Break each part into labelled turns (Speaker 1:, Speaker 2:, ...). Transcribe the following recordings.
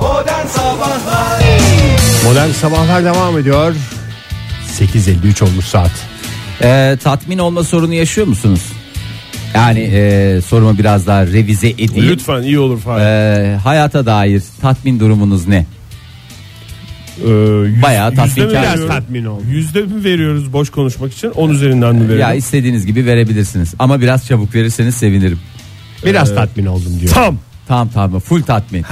Speaker 1: Oh, Sabahlar
Speaker 2: Modern Sabahlar devam ediyor. 8.53 olmuş saat.
Speaker 3: Ee, tatmin olma sorunu yaşıyor musunuz? Yani e, sorumu biraz daha revize edeyim.
Speaker 4: Lütfen iyi olur Fahir.
Speaker 3: Ee, hayata dair tatmin durumunuz ne?
Speaker 4: Ee, yüz-
Speaker 3: bayağı
Speaker 4: yüzde mi
Speaker 3: tatminkar.
Speaker 4: veriyoruz?
Speaker 2: Biraz tatmin oldum.
Speaker 4: Yüzde mi veriyoruz boş konuşmak için? 10 üzerinden mi
Speaker 3: Ya
Speaker 4: veriyoruz?
Speaker 3: istediğiniz gibi verebilirsiniz ama biraz çabuk verirseniz sevinirim.
Speaker 2: Biraz tatmin oldum diyor.
Speaker 4: Tam.
Speaker 3: Tamam tamam full tatmin.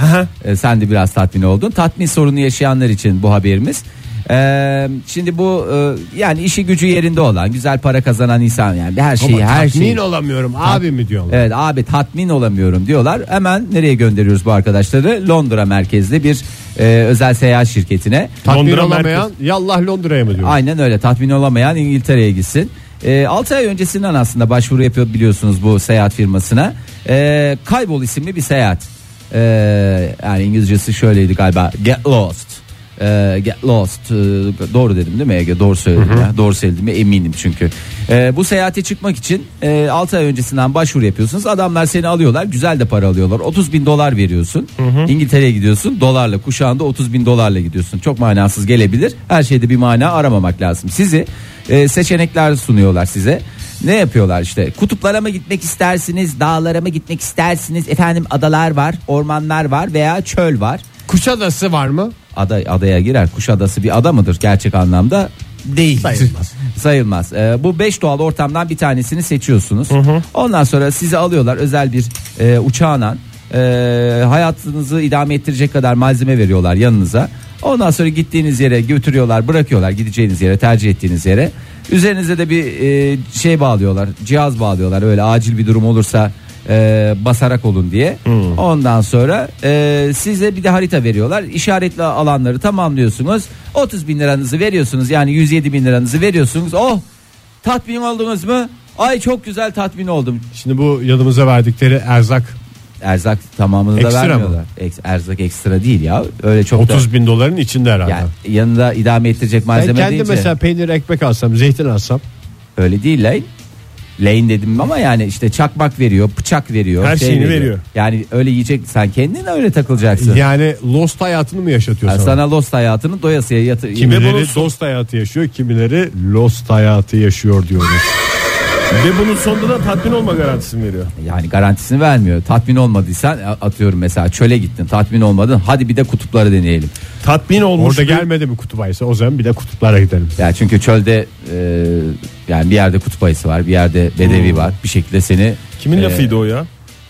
Speaker 3: Ee, sen de biraz tatmin oldun. Tatmin sorunu yaşayanlar için bu haberimiz. Ee, şimdi bu e, yani işi gücü yerinde olan güzel para kazanan insan yani her şeyi
Speaker 2: Ama
Speaker 3: her
Speaker 2: tatmin
Speaker 3: şeyi
Speaker 2: olamıyorum abi mi diyorlar.
Speaker 3: Evet abi tatmin olamıyorum diyorlar. Hemen nereye gönderiyoruz bu arkadaşları? Londra merkezli bir e, özel seyahat şirketine.
Speaker 2: Tatmin
Speaker 4: Londra
Speaker 2: olamayan yallah Londra'ya mı diyor.
Speaker 3: Aynen öyle tatmin olamayan İngiltere'ye gitsin. E, 6 ay öncesinden aslında başvuru yapıyor biliyorsunuz bu seyahat firmasına. E, kaybol isimli bir seyahat. E, yani İngilizcesi şöyleydi galiba get lost. E, get lost E, doğru dedim değil mi Ege doğru söyledim ya. doğru söyledim mi eminim çünkü E, bu seyahate çıkmak için e, 6 ay öncesinden başvuru yapıyorsunuz adamlar seni alıyorlar güzel de para alıyorlar 30 bin dolar veriyorsun İngiltere'ye gidiyorsun dolarla kuşağında 30 bin dolarla gidiyorsun çok manasız gelebilir her şeyde bir mana aramamak lazım sizi e, seçenekler sunuyorlar size ne yapıyorlar işte kutuplara mı gitmek istersiniz dağlara mı gitmek istersiniz efendim adalar var ormanlar var veya çöl var
Speaker 2: Kuşadası var mı?
Speaker 3: ada, adaya girer. Kuşadası bir ada mıdır gerçek anlamda? Değil.
Speaker 2: Sayılmaz.
Speaker 3: Sayılmaz. Ee, bu 5 doğal ortamdan bir tanesini seçiyorsunuz. Ondan sonra sizi alıyorlar özel bir e, uçağına. E, hayatınızı idame ettirecek kadar malzeme veriyorlar yanınıza. Ondan sonra gittiğiniz yere götürüyorlar, bırakıyorlar gideceğiniz yere, tercih ettiğiniz yere. Üzerinize de bir e, şey bağlıyorlar, cihaz bağlıyorlar. Öyle acil bir durum olursa e, basarak olun diye. Ondan sonra e, size bir de harita veriyorlar. İşaretli alanları tamamlıyorsunuz. 30 bin liranızı veriyorsunuz. Yani 107 bin liranızı veriyorsunuz. Oh tatmin oldunuz mu? Ay çok güzel tatmin oldum.
Speaker 2: Şimdi bu yanımıza verdikleri erzak
Speaker 3: Erzak tamamını
Speaker 2: Ekstra
Speaker 3: da
Speaker 2: mı?
Speaker 3: vermiyorlar. Eks- erzak ekstra değil ya. Öyle çok
Speaker 4: 30
Speaker 3: da
Speaker 4: bin doların içinde herhalde.
Speaker 3: yani yanında idame ettirecek
Speaker 2: ben
Speaker 3: malzeme
Speaker 2: kendi
Speaker 3: deyince
Speaker 2: mesela peynir ekmek alsam, zeytin alsam
Speaker 3: öyle değil lane. Lane dedim ama yani işte çakmak veriyor, bıçak veriyor.
Speaker 4: Her şeyini veriyor.
Speaker 3: Yani öyle yiyecek sen kendin öyle takılacaksın.
Speaker 2: yani Lost hayatını mı yaşatıyor
Speaker 3: Yani
Speaker 2: sana?
Speaker 3: sana Lost hayatını doyasıya yatır.
Speaker 4: Ve
Speaker 2: Kimileri
Speaker 4: bunun
Speaker 2: dost hayatı yaşıyor, kimileri Lost hayatı yaşıyor diyoruz.
Speaker 4: Ve bunun sonunda da tatmin olma garantisini veriyor.
Speaker 3: Yani garantisini vermiyor. Tatmin olmadıysan a- atıyorum mesela çöle gittin tatmin olmadın hadi bir de kutupları deneyelim.
Speaker 4: Tatmin olmuş.
Speaker 2: Orada
Speaker 4: bir-
Speaker 2: gelmedi mi kutup ayısı o zaman bir de kutuplara gidelim.
Speaker 3: Yani çünkü çölde e, yani bir yerde kutup ayısı var bir yerde bedevi
Speaker 2: Hmm.
Speaker 3: var bir şekilde seni
Speaker 4: Kimin
Speaker 3: e,
Speaker 4: lafıydı o ya?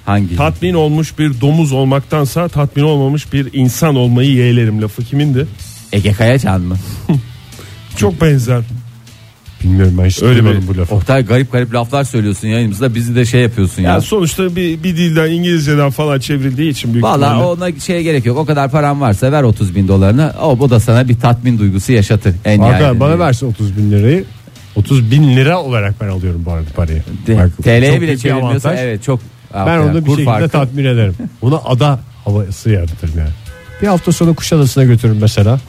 Speaker 3: Hangi?
Speaker 4: Ee, Tatmin olmuş bir domuz olmaktansa tatmin olmamış bir insan olmayı yeğlerim lafı kimindi?
Speaker 3: Ege Kayacan mı?
Speaker 4: Çok benzer.
Speaker 2: Bilmiyorum ben hiç
Speaker 4: Öyle
Speaker 2: duymadım
Speaker 4: mi?
Speaker 2: bu lafı.
Speaker 3: Oktay garip garip laflar söylüyorsun yayınımızda bizi de şey yapıyorsun ya.
Speaker 4: Yani sonuçta bir, bir dilden İngilizceden falan çevrildiği için büyük
Speaker 3: Valla
Speaker 4: ihtimalle.
Speaker 3: ona şeye gerek yok. O kadar paran varsa ver 30 bin dolarını. O bu da sana bir tatmin duygusu yaşatır. En
Speaker 2: Arkadaşlar
Speaker 3: nihayetinde.
Speaker 2: bana versin 30 bin lirayı. 30 bin lira olarak ben alıyorum bu arada parayı.
Speaker 3: De-
Speaker 2: Bak,
Speaker 3: TL'ye
Speaker 2: çok büyük
Speaker 3: bile
Speaker 2: bir
Speaker 3: çevirmiyorsa
Speaker 2: avantaj.
Speaker 3: evet çok.
Speaker 2: Ben onu bir
Speaker 3: Kur
Speaker 2: şekilde
Speaker 3: farkı.
Speaker 2: tatmin ederim. Buna ada havası yaratırım yani. Bir hafta sonra Kuşadası'na götürürüm mesela.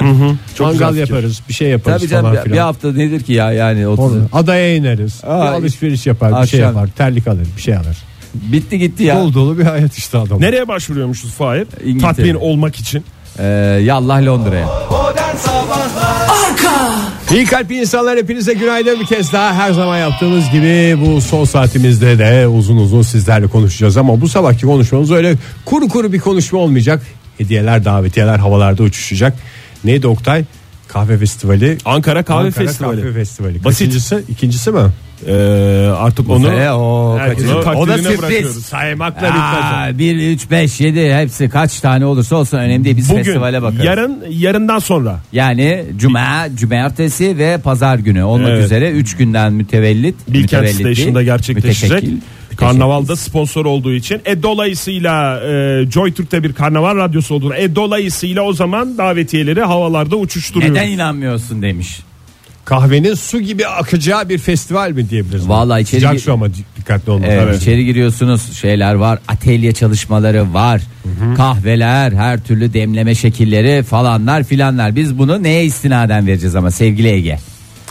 Speaker 4: Çok
Speaker 2: Mangal
Speaker 4: güzel fikir.
Speaker 2: yaparız, bir şey yaparız
Speaker 3: Tabii canım
Speaker 2: falan
Speaker 3: bir, bir
Speaker 2: filan.
Speaker 3: hafta nedir ki ya yani 30.
Speaker 2: Olur. Adaya ineriz.
Speaker 3: Aa,
Speaker 2: bir alışveriş yapar, bir şey
Speaker 3: akşam.
Speaker 2: yapar. Terlik alır, bir şey alır.
Speaker 3: Bitti gitti ya.
Speaker 2: Dolu dolu bir hayat işte adam.
Speaker 4: Nereye başvuruyormuşuz Fahir?
Speaker 3: İngiltere.
Speaker 4: Tatmin olmak için.
Speaker 3: Ee, yallah Londra'ya.
Speaker 1: Modern Sabahlar
Speaker 2: İyi kalpli insanlar hepinize günaydın bir kez daha her zaman yaptığımız gibi bu son saatimizde de uzun uzun sizlerle konuşacağız ama bu sabahki konuşmamız öyle kuru kuru bir konuşma olmayacak. Hediyeler davetiyeler havalarda uçuşacak. Neydi Oktay? Kahve Festivali.
Speaker 4: Ankara Kahve
Speaker 2: Ankara
Speaker 4: Festivali.
Speaker 2: Kahve Festivali.
Speaker 4: Basit.
Speaker 2: Kaçıncısı? İkincisi mi?
Speaker 4: Ee, artık onu
Speaker 3: Onu, o,
Speaker 4: herkesin
Speaker 3: kaçıncı-
Speaker 4: takdirine
Speaker 3: o da
Speaker 4: bırakıyoruz.
Speaker 3: sürpriz.
Speaker 4: Saymakla bitmez.
Speaker 3: Aa, 1, 3, 5, 7 hepsi kaç tane olursa olsun önemli değil. Biz
Speaker 4: Bugün,
Speaker 3: festivale bakarız.
Speaker 4: yarın, yarından sonra.
Speaker 3: Yani cuma, cumartesi ve pazar günü olmak
Speaker 4: Evet.
Speaker 3: üzere 3 günden mütevellit.
Speaker 4: Bilkent
Speaker 3: mütevellit değil,
Speaker 4: Station'da gerçekleşecek.
Speaker 3: müteşekkil, müteşekkil.
Speaker 4: Karnavalda sponsor olduğu için. E dolayısıyla e, Joy Türk'te bir karnaval radyosu olduğunu. E dolayısıyla o zaman davetiyeleri havalarda uçuşturuyor.
Speaker 3: Neden inanmıyorsun demiş.
Speaker 2: Kahvenin su gibi akacağı bir festival mi diyebiliriz?
Speaker 3: Vallahi içeri-
Speaker 2: Sıcak su ama di- dikkatli olmak.
Speaker 3: Evet,
Speaker 2: Evet.
Speaker 3: Ee, içeri giriyorsunuz şeyler var atölye çalışmaları var kahveler her türlü demleme şekilleri falanlar filanlar biz bunu neye istinaden vereceğiz ama sevgili Ege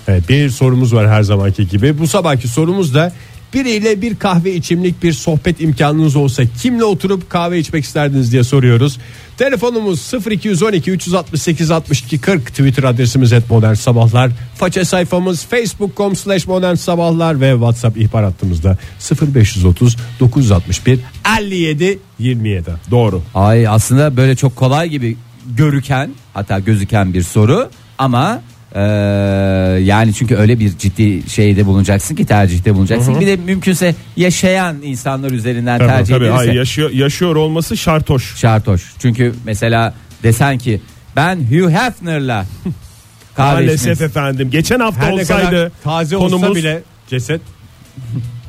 Speaker 2: Evet, bir sorumuz var her zamanki gibi. Bu sabahki sorumuz da biriyle bir kahve içimlik bir sohbet imkanınız olsa kimle oturup kahve içmek isterdiniz diye soruyoruz. Telefonumuz 0212 368 62 40 Twitter adresimiz et modern sabahlar. Faça sayfamız facebook.com slash modern sabahlar ve WhatsApp ihbar hattımızda 0530 961 57 27.
Speaker 4: Doğru.
Speaker 3: Ay aslında böyle çok kolay gibi görüken hatta gözüken bir soru ama eee, yani çünkü öyle bir ciddi şeyde bulunacaksın ki tercihte bulunacaksın. Bir de mümkünse yaşayan insanlar üzerinden
Speaker 4: Tabii,
Speaker 3: tercih
Speaker 4: tabii.
Speaker 3: edilirse
Speaker 4: Hayır, yaşıyor, yaşıyor olması şart hoş.
Speaker 3: şart hoş. Çünkü mesela desen ki ben Hugh Hefner'la kahve
Speaker 4: Maalesef
Speaker 3: içmek
Speaker 4: efendim. Geçen hafta
Speaker 2: Her ne kadar
Speaker 4: olsaydı
Speaker 2: taze olsa
Speaker 4: konumuz-
Speaker 2: bile ceset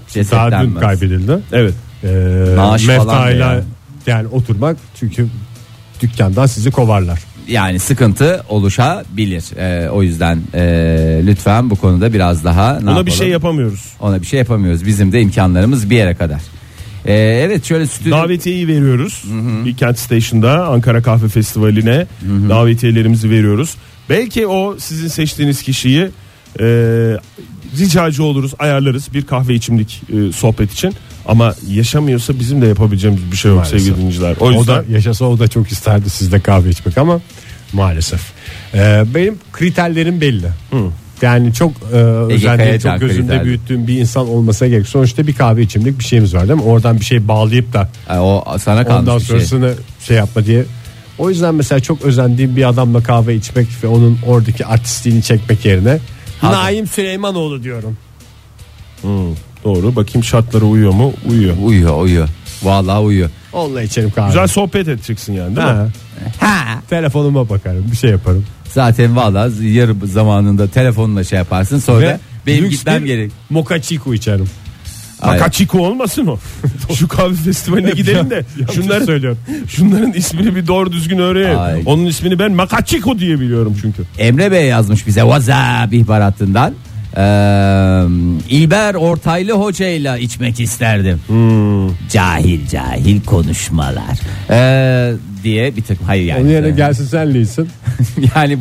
Speaker 3: cesetten
Speaker 2: daha dün
Speaker 3: mi?
Speaker 2: kaybedildi.
Speaker 4: Evet.
Speaker 2: Ee,
Speaker 3: Maaş falan da
Speaker 2: meftayla
Speaker 3: yani.
Speaker 2: yani. oturmak çünkü dükkandan sizi kovarlar.
Speaker 3: yani sıkıntı oluşabilir. Ee, o yüzden eee, lütfen bu konuda biraz daha ne
Speaker 4: Buna bir
Speaker 3: yapalım?
Speaker 4: şey yapamıyoruz.
Speaker 3: Ona bir şey yapamıyoruz. Bizim de imkanlarımız bir yere kadar. Ee, evet şöyle stüdyo
Speaker 4: Davetiyeyi veriyoruz. Bir Kent Station'da Ankara Kahve Festivali'ne davetiyelerimizi veriyoruz. Belki o sizin seçtiğiniz kişiyi e, ricacı oluruz, ayarlarız bir kahve içimlik e, sohbet için. Ama yaşamıyorsa bizim de yapabileceğimiz bir şey yok
Speaker 2: Maalesef.
Speaker 4: sevgili dinleyiciler. O
Speaker 2: O,
Speaker 4: yüzden
Speaker 2: da yaşasa o da çok isterdi sizde kahve içmek ama maalesef. Ee, benim kriterlerim belli. Yani çok e, özendiğim,
Speaker 3: Kayacan
Speaker 2: çok gözümde
Speaker 3: kriterleri.
Speaker 2: büyüttüğüm bir insan olmasına gerek. Sonuçta bir kahve içimlik bir şeyimiz var değil mi? Oradan bir şey bağlayıp da
Speaker 3: Ay, o sana kalmış
Speaker 2: ondan
Speaker 3: bir şey.
Speaker 2: sonrasını şey. yapma diye. O yüzden mesela çok özendiğim bir adamla kahve içmek ve onun oradaki artistliğini çekmek yerine
Speaker 3: Abi.
Speaker 2: Naim Süleymanoğlu diyorum.
Speaker 4: doğru. Bakayım şartlara uyuyor mu? Uyuyor.
Speaker 3: Uyuyor uyuyor. Vallahi uyuyor.
Speaker 2: Onunla içerim kahve.
Speaker 4: Güzel sohbet edeceksin yani değil mi?
Speaker 2: Ha,
Speaker 3: Ha.
Speaker 2: telefonuma bakarım bir şey yaparım.
Speaker 3: Zaten vallahi yarı zamanında telefonla şey yaparsın sonra
Speaker 2: Ve
Speaker 3: benim
Speaker 2: lüks
Speaker 3: gitmem
Speaker 2: bir
Speaker 3: gerek.
Speaker 2: Mocha Chico içerim.
Speaker 3: Ay,
Speaker 4: Kakaçiko olmasın o. Şu kahve festivaline gidelim de
Speaker 2: Şunları
Speaker 4: şunların,
Speaker 2: söylüyorum.
Speaker 4: şunların ismini bir doğru düzgün öğrenelim.
Speaker 3: Ay.
Speaker 4: Onun ismini ben Makaçiko diye biliyorum çünkü.
Speaker 3: Emre Bey yazmış bize WhatsApp ihbar hattından. Ee, İlber Ortaylı hocayla içmek isterdim.
Speaker 2: Hmm.
Speaker 3: Cahil cahil konuşmalar. Ee, diye bir takım hayır yani.
Speaker 2: Onun yerine Hani gelsin sen Lee'sin.
Speaker 3: yani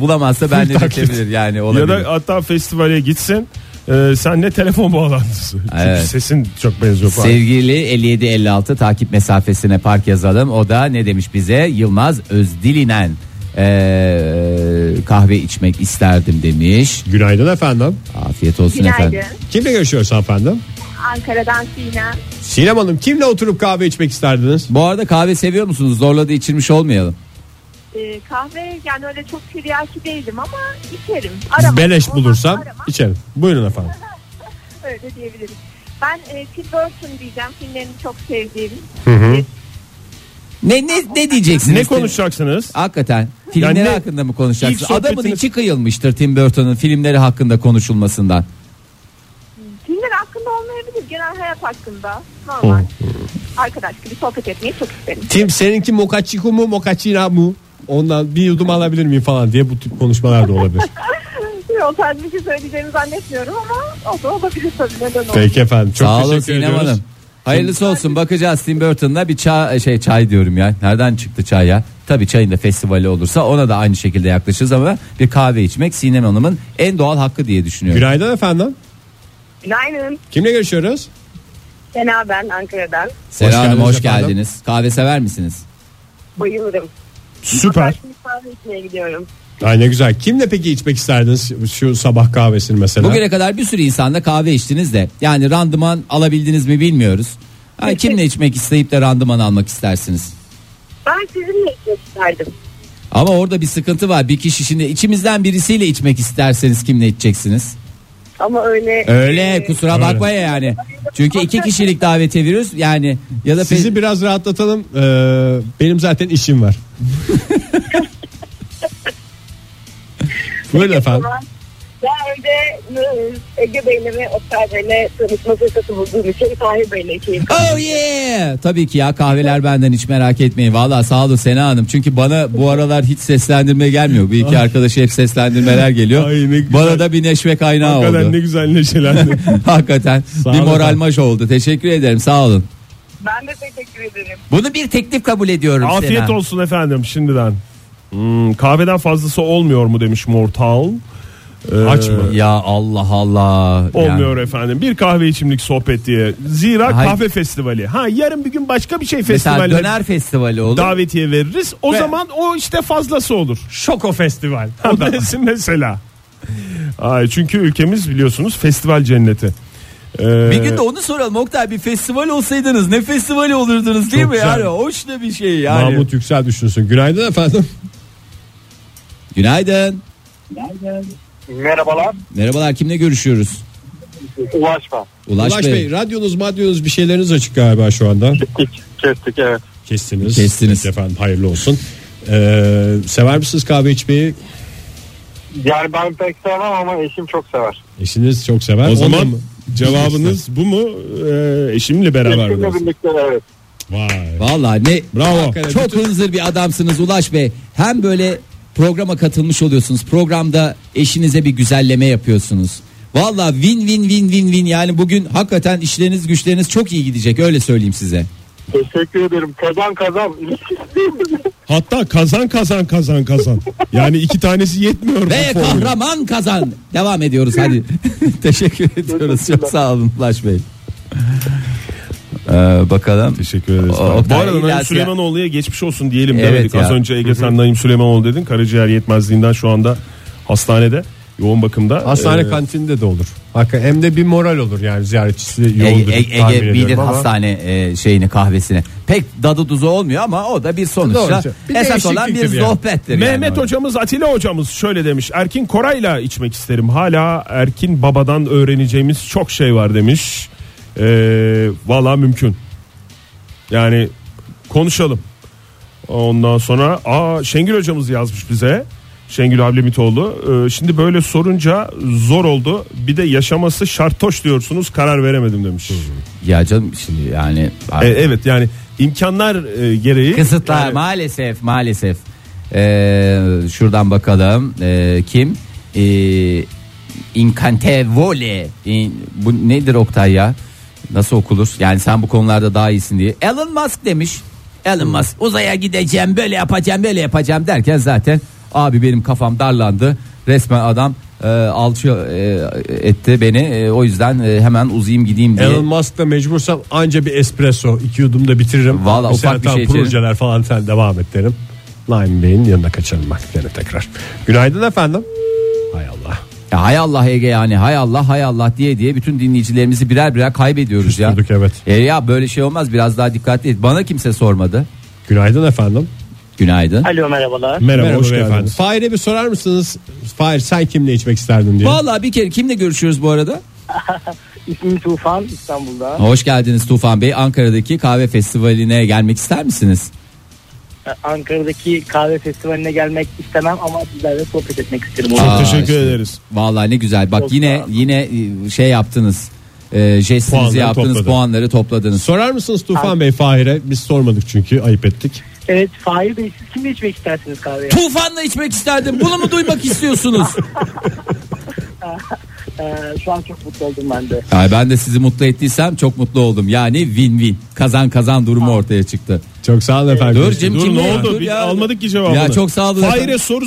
Speaker 3: bulamazsa ben de
Speaker 2: taklit.
Speaker 3: geçebilir yani
Speaker 4: Ya
Speaker 3: olabilir.
Speaker 4: da hatta festivale gitsin. Ee, sen ne telefon bağlantısı.
Speaker 3: Evet.
Speaker 4: Çünkü sesin çok benziyor. falan.
Speaker 3: Sevgili 5756 takip mesafesine park yazalım. O da ne demiş bize? Yılmaz Özdilinen ee, kahve içmek isterdim demiş.
Speaker 2: Günaydın efendim.
Speaker 3: Afiyet olsun
Speaker 5: Günaydın.
Speaker 3: efendim.
Speaker 2: Kimle görüşüyoruz efendim?
Speaker 5: Ankara'dan Sinem.
Speaker 2: Sinem Hanım kimle oturup kahve içmek isterdiniz?
Speaker 3: Bu arada kahve seviyor musunuz? Zorla da içirmiş olmayalım.
Speaker 5: Ee, kahve yani öyle çok tiryaki değilim ama içerim. Aramam.
Speaker 2: Beleş
Speaker 5: Olmazsa
Speaker 2: bulursam
Speaker 5: aramam.
Speaker 2: içerim. Buyurun efendim.
Speaker 5: Öyle diyebilirim. Ben e, Tim Burton diyeceğim. Filmlerini çok sevdiğim.
Speaker 3: Ne ne ne diyeceksiniz?
Speaker 4: Ne konuşacaksınız?
Speaker 3: Hakikaten filmleri
Speaker 4: Yani ne-
Speaker 3: hakkında mı konuşacaksınız?
Speaker 4: İlk sohbetiniz-
Speaker 3: Adamın içi kıyılmıştır Tim Burton'un filmleri hakkında konuşulmasından.
Speaker 5: Filmler hakkında olmayabilir. Genel hayat hakkında. Normal. Arkadaş gibi sohbet etmeyi çok isterim.
Speaker 2: Tim seninki Mocha Chico mu Mocha China mu? Ondan bir yudum alabilir miyim falan diye bu tip konuşmalar da olabilir.
Speaker 5: o tarz bir şey söyleyeceğimi zannetmiyorum ama o da olabilir tabii. Neden olmasın?
Speaker 2: Peki efendim. Çok
Speaker 3: Sağ olun
Speaker 2: teşekkür
Speaker 3: Sinem
Speaker 2: ediyoruz.
Speaker 3: Hanım. Hayırlısı olsun bakacağız Tim Burton'la bir çay şey çay diyorum ya. Nereden çıktı çay ya? Tabii çayın da festivali olursa ona da aynı şekilde yaklaşırız ama bir kahve içmek Sinem Hanım'ın en doğal hakkı diye düşünüyorum.
Speaker 2: Günaydın efendim.
Speaker 5: Günaydın.
Speaker 2: Kimle görüşüyoruz?
Speaker 5: Sena ben Ankara'dan.
Speaker 3: Sera
Speaker 2: Hoş
Speaker 3: Hanım
Speaker 2: geldiniz
Speaker 3: hoş
Speaker 2: efendim.
Speaker 3: geldiniz. Kahve sever misiniz?
Speaker 5: Bayılırım.
Speaker 4: Süper.
Speaker 5: Şimdi kahve içmeye gidiyorum.
Speaker 2: Ay ne güzel. Kimle peki içmek isterdiniz şu sabah kahvesini mesela?
Speaker 3: Bugüne kadar bir sürü insanla kahve içtiniz de yani randıman alabildiniz mi bilmiyoruz. Ha, kimle içmek isteyip de randıman almak istersiniz?
Speaker 5: Ben sizinle içmek isterdim.
Speaker 3: Ama orada bir sıkıntı var. Bir kişi şimdi içimizden birisiyle içmek isterseniz kimle içeceksiniz?
Speaker 5: Ama öyle... e,
Speaker 3: Öyle kusura
Speaker 2: Öyle.
Speaker 3: bakma yani. Çünkü iki kişilik davete veriyoruz yani ya da
Speaker 2: Sizi
Speaker 3: pe-
Speaker 2: biraz rahatlatalım. Ee, benim zaten işim var. Buyurun efendim.
Speaker 5: Daha önce e, Ege Bey'le ve Oktay Bey'le tanışma fırsatı bulduğum için Tahir Bey'le keyif
Speaker 3: Oh yeah! Tabii ki ya kahveler benden hiç merak etmeyin. Valla sağ olun Sena Hanım. Çünkü bana bu aralar hiç seslendirme gelmiyor. Bir iki arkadaşı hep seslendirmeler geliyor.
Speaker 4: Ay ne güzel.
Speaker 3: bana da bir neşve kaynağı
Speaker 4: Hakikaten
Speaker 3: oldu.
Speaker 4: ne güzel neşelendi.
Speaker 3: Hakikaten
Speaker 2: Sağ
Speaker 3: bir
Speaker 2: olun
Speaker 3: moral
Speaker 2: efendim.
Speaker 3: maç oldu. Teşekkür ederim sağ olun.
Speaker 5: Ben de teşekkür ederim.
Speaker 3: Bunu bir teklif kabul ediyorum Sena.
Speaker 4: Afiyet olsun efendim şimdiden. Hmm, kahveden fazlası olmuyor mu demiş Mortal. Ee,
Speaker 2: Aç mı?
Speaker 3: Ya Allah Allah.
Speaker 4: Olmuyor efendim. Bir kahve içimlik sohbet diye. Zira
Speaker 3: Hayır.
Speaker 4: kahve festivali. Ha yarın bir gün başka bir şey
Speaker 3: Mesela
Speaker 4: festivali.
Speaker 3: döner festivali olur.
Speaker 4: davetiye veririz. O
Speaker 2: Ve-
Speaker 4: zaman o işte fazlası olur.
Speaker 2: Şoko Festival.
Speaker 4: O desin mesela. Ay, çünkü ülkemiz biliyorsunuz festival cenneti. Ee,
Speaker 3: Bir gün de onu soralım Oktay bir festival olsaydınız ne festivali olurdunuz değil
Speaker 2: Çok
Speaker 3: mi?
Speaker 2: güzel.
Speaker 3: Yani hoş da bir şey yani.
Speaker 2: Mahmut Yüksel düşünsün. Günaydın efendim.
Speaker 3: Günaydın.
Speaker 6: Merhabalar.
Speaker 3: Merhabalar kimle görüşüyoruz?
Speaker 6: Ulaş ben.
Speaker 3: Ulaş,
Speaker 2: Ulaş Bey.
Speaker 3: Bey.
Speaker 2: radyonuz madyonuz bir şeyleriniz açık galiba şu anda.
Speaker 6: Kestik, kestik evet.
Speaker 2: Kestiniz.
Speaker 3: Kestiniz.
Speaker 2: Peki Efendim hayırlı olsun. Ee, sever misiniz kahve içmeyi?
Speaker 6: Yani ben pek sevmem ama eşim çok sever.
Speaker 2: Eşiniz çok sever.
Speaker 4: o
Speaker 2: Onunla
Speaker 4: zaman
Speaker 2: mı?
Speaker 4: cevabınız bu mu? Ee, eşimle beraber mi?
Speaker 6: Eşimle birlikte evet.
Speaker 2: Vay.
Speaker 3: Vallahi ne
Speaker 2: Bravo.
Speaker 3: Hakikaten çok bütün- hınzır bir adamsınız Ulaş Bey. Hem böyle programa katılmış oluyorsunuz. Programda eşinize bir güzelleme yapıyorsunuz. Vallahi win win win win win yani bugün hakikaten işleriniz güçleriniz çok iyi gidecek öyle söyleyeyim size.
Speaker 6: Teşekkür ederim. Kazan kazan.
Speaker 4: Hatta kazan kazan kazan kazan. Yani iki tanesi yetmiyor.
Speaker 3: Ve
Speaker 4: bu formül.
Speaker 3: kahraman kazan. Devam ediyoruz hadi. Teşekkür ediyoruz. Çok sağ olun Ulaş Bey. Ee, bakalım.
Speaker 4: Teşekkür ederiz.
Speaker 3: O- Oktay
Speaker 4: Bu arada
Speaker 3: İlyas
Speaker 4: Naim
Speaker 3: ya.
Speaker 4: Süleymanoğlu'ya geçmiş olsun diyelim
Speaker 3: Evet
Speaker 4: demedik. Az
Speaker 3: ya.
Speaker 4: önce Ege sen Naim Süleymanoğlu dedin. Karaciğer yetmezliğinden şu anda hastanede yoğun bakımda.
Speaker 2: Hastane
Speaker 4: Ee,
Speaker 2: kantinde de olur. Hakikaten hem de bir moral olur yani ziyaretçisi yoğundur.
Speaker 3: Ege, Ege-
Speaker 2: tahmin
Speaker 3: Ege bilir
Speaker 2: ediyorum ama
Speaker 3: hastane e, şeyini kahvesini. Pek dadı duzu olmuyor ama o da bir sonuçta
Speaker 2: Doğru. Bir
Speaker 3: esas
Speaker 2: değişikliktir
Speaker 3: olan bir
Speaker 2: yani.
Speaker 3: sohbettir.
Speaker 4: Mehmet
Speaker 3: yani.
Speaker 4: hocamız Atilla hocamız şöyle demiş. Erkin Koray'la içmek isterim. Hala Erkin babadan öğreneceğimiz çok şey var demiş. Ee, Valla mümkün. Yani konuşalım. Ondan sonra aa Şengül hocamız yazmış bize. Şengül Ablemitoğlu. Ee, şimdi böyle sorunca zor oldu. Bir de yaşaması şartoş diyorsunuz. Karar veremedim demiş.
Speaker 3: Ya canım şimdi yani
Speaker 4: Ee,
Speaker 2: E,
Speaker 4: evet yani imkanlar e, gereği
Speaker 3: kısıtlar
Speaker 4: Yani-
Speaker 3: maalesef maalesef. Ee, şuradan bakalım Ee, kim? Ee, Incantevole. İn- bu nedir Oktay ya? Nasıl okulur? Yani sen bu konularda daha iyisin diye. Elon Musk demiş. Elon Musk uzaya gideceğim böyle yapacağım böyle yapacağım derken zaten abi benim kafam darlandı. Resmen adam e, alçı e, etti beni. E, o yüzden e, hemen uzayım gideyim diye.
Speaker 2: Elon Musk'la mecbursam anca bir espresso iki yudum da bitiririm.
Speaker 3: Vallahi ufak
Speaker 2: Mesela
Speaker 3: bir
Speaker 2: tam
Speaker 3: şey içerim.
Speaker 2: projeler falan sen devam et derim. Lime Bey'in yanına kaçarım bak gene tekrar. Günaydın efendim. Hay Allah.
Speaker 3: Ya hay Allah Ege yani hay Allah hay Allah diye diye bütün dinleyicilerimizi birer birer kaybediyoruz ya.
Speaker 2: Küstürdük, evet.
Speaker 3: E ya böyle şey olmaz biraz daha dikkatli et. Bana kimse sormadı.
Speaker 2: Günaydın efendim.
Speaker 3: Günaydın.
Speaker 6: Alo merhabalar.
Speaker 4: Merhaba, hoş
Speaker 2: beyefendi.
Speaker 4: geldiniz.
Speaker 2: Fahir'e bir sorar mısınız? Fahir sen kimle içmek isterdin diye.
Speaker 3: Vallahi bir kere kimle görüşüyoruz bu arada?
Speaker 6: İsmim Tufan İstanbul'da.
Speaker 3: Hoş geldiniz Tufan Bey. Ankara'daki kahve festivaline gelmek ister misiniz?
Speaker 7: Ee,
Speaker 6: Ankara'daki kahve festivaline gelmek istemem ama sizlerle sohbet etmek isterim.
Speaker 4: Çok
Speaker 3: Aa,
Speaker 4: teşekkür
Speaker 3: işte.
Speaker 4: ederiz.
Speaker 3: Vallahi ne güzel. Bak
Speaker 6: Çok
Speaker 3: yine
Speaker 6: sağ olun.
Speaker 3: yine e, şey yaptınız. E, jestinizi
Speaker 2: Puanları
Speaker 3: yaptınız,
Speaker 2: topladım.
Speaker 3: puanları topladınız.
Speaker 2: Sorar mısınız Tufan Bey Fahir'e? Biz sormadık çünkü ayıp ettik.
Speaker 8: Evet Fahir Bey siz kimle içmek istersiniz kahveye?
Speaker 3: Tufan'la içmek isterdim. Bunu mu duymak istiyorsunuz?
Speaker 8: Ee, şu an çok mutlu oldum ben de.
Speaker 3: Ya ben de sizi mutlu ettiysem çok mutlu oldum. Yani win-win. Kazan kazan durumu ortaya çıktı.
Speaker 2: Çok sağ olun efendim.
Speaker 3: Dur Cem,
Speaker 4: Dur
Speaker 3: Kimle
Speaker 4: ne
Speaker 3: ya?
Speaker 4: oldu?
Speaker 3: Dur
Speaker 4: Biz
Speaker 3: ya.
Speaker 4: almadık ki cevabını.
Speaker 3: Ya çok sağ olun efendim.
Speaker 4: Hayre soru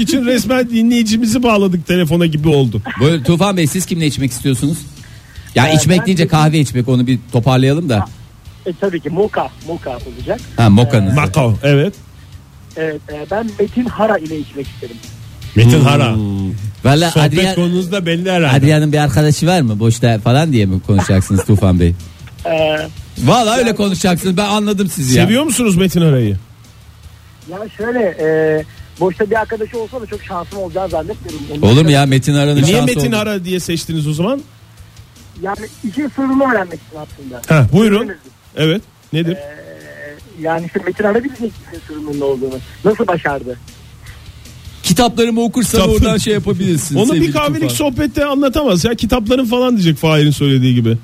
Speaker 4: için resmen dinleyicimizi bağladık telefona gibi oldu.
Speaker 3: Böyle Tufan Bey siz kimle içmek istiyorsunuz? Ya
Speaker 4: Ee,
Speaker 3: içmek deyince kahve içmek onu bir toparlayalım da.
Speaker 8: E, tabii ki Moka, Moka olacak.
Speaker 3: Ha mokanız.
Speaker 4: Makao. Evet.
Speaker 8: Evet, e, ben Metin Hara ile içmek isterim.
Speaker 2: Metin Hara.
Speaker 3: Valla
Speaker 2: Sohbet
Speaker 3: Hmm. Adrian,
Speaker 2: konunuzda belli herhalde.
Speaker 3: Adrian'ın bir arkadaşı var mı boşta falan diye mi konuşacaksınız Tufan Bey?
Speaker 8: Ee,
Speaker 3: Valla öyle konuşacaksınız ben anladım sizi ya.
Speaker 4: Seviyor musunuz Metin Aray'ı?
Speaker 8: ya şöyle e, boşta bir arkadaşı olsa da çok şansım olacağını zannetmiyorum. Onun
Speaker 3: Olur mu
Speaker 8: için-
Speaker 3: ya Metin Aran'ın
Speaker 4: E Niye
Speaker 3: şansı
Speaker 4: Metin
Speaker 3: oldu.
Speaker 4: Ara diye seçtiniz o zaman?
Speaker 8: Yani işin sırrını öğrenmek için aslında.
Speaker 4: Ha, buyurun. Evet. Nedir?
Speaker 3: Ee,
Speaker 8: Yani işte Metin Hara bilecek işin sırrının ne olduğunu. Nasıl başardı?
Speaker 3: Kitaplarımı okursan
Speaker 4: Kitap-
Speaker 3: oradan şey yapabilirsin.
Speaker 4: Onu
Speaker 3: sevgili
Speaker 4: bir kahvelik
Speaker 3: Tufan.
Speaker 4: sohbette anlatamaz ya. Kitapların falan diyecek Fahir'in söylediği gibi.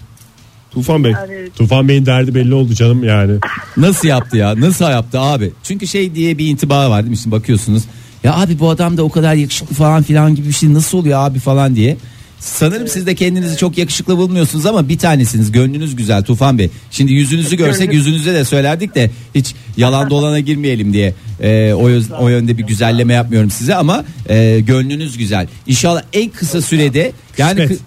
Speaker 4: Tufan Bey.
Speaker 8: Yani
Speaker 2: Tufan Bey'in derdi belli oldu canım yani.
Speaker 3: Nasıl yaptı ya? Nasıl yaptı abi? Çünkü şey diye bir intiba var değil mi? Şimdi bakıyorsunuz. Ya abi bu adam da o kadar yakışıklı falan filan gibi bir şey nasıl oluyor abi falan diye. Sanırım siz de kendinizi çok yakışıklı bulmuyorsunuz ama bir tanesiniz. Gönlünüz güzel Tufan Bey. Şimdi yüzünüzü görsek yüzünüze de söylerdik de hiç yalan dolana girmeyelim diye. Ee, o, yöz- o yönde bir güzelleme yapmıyorum size ama e, gönlünüz güzel. İnşallah en kısa sürede yani
Speaker 2: Kısmet.
Speaker 3: kı-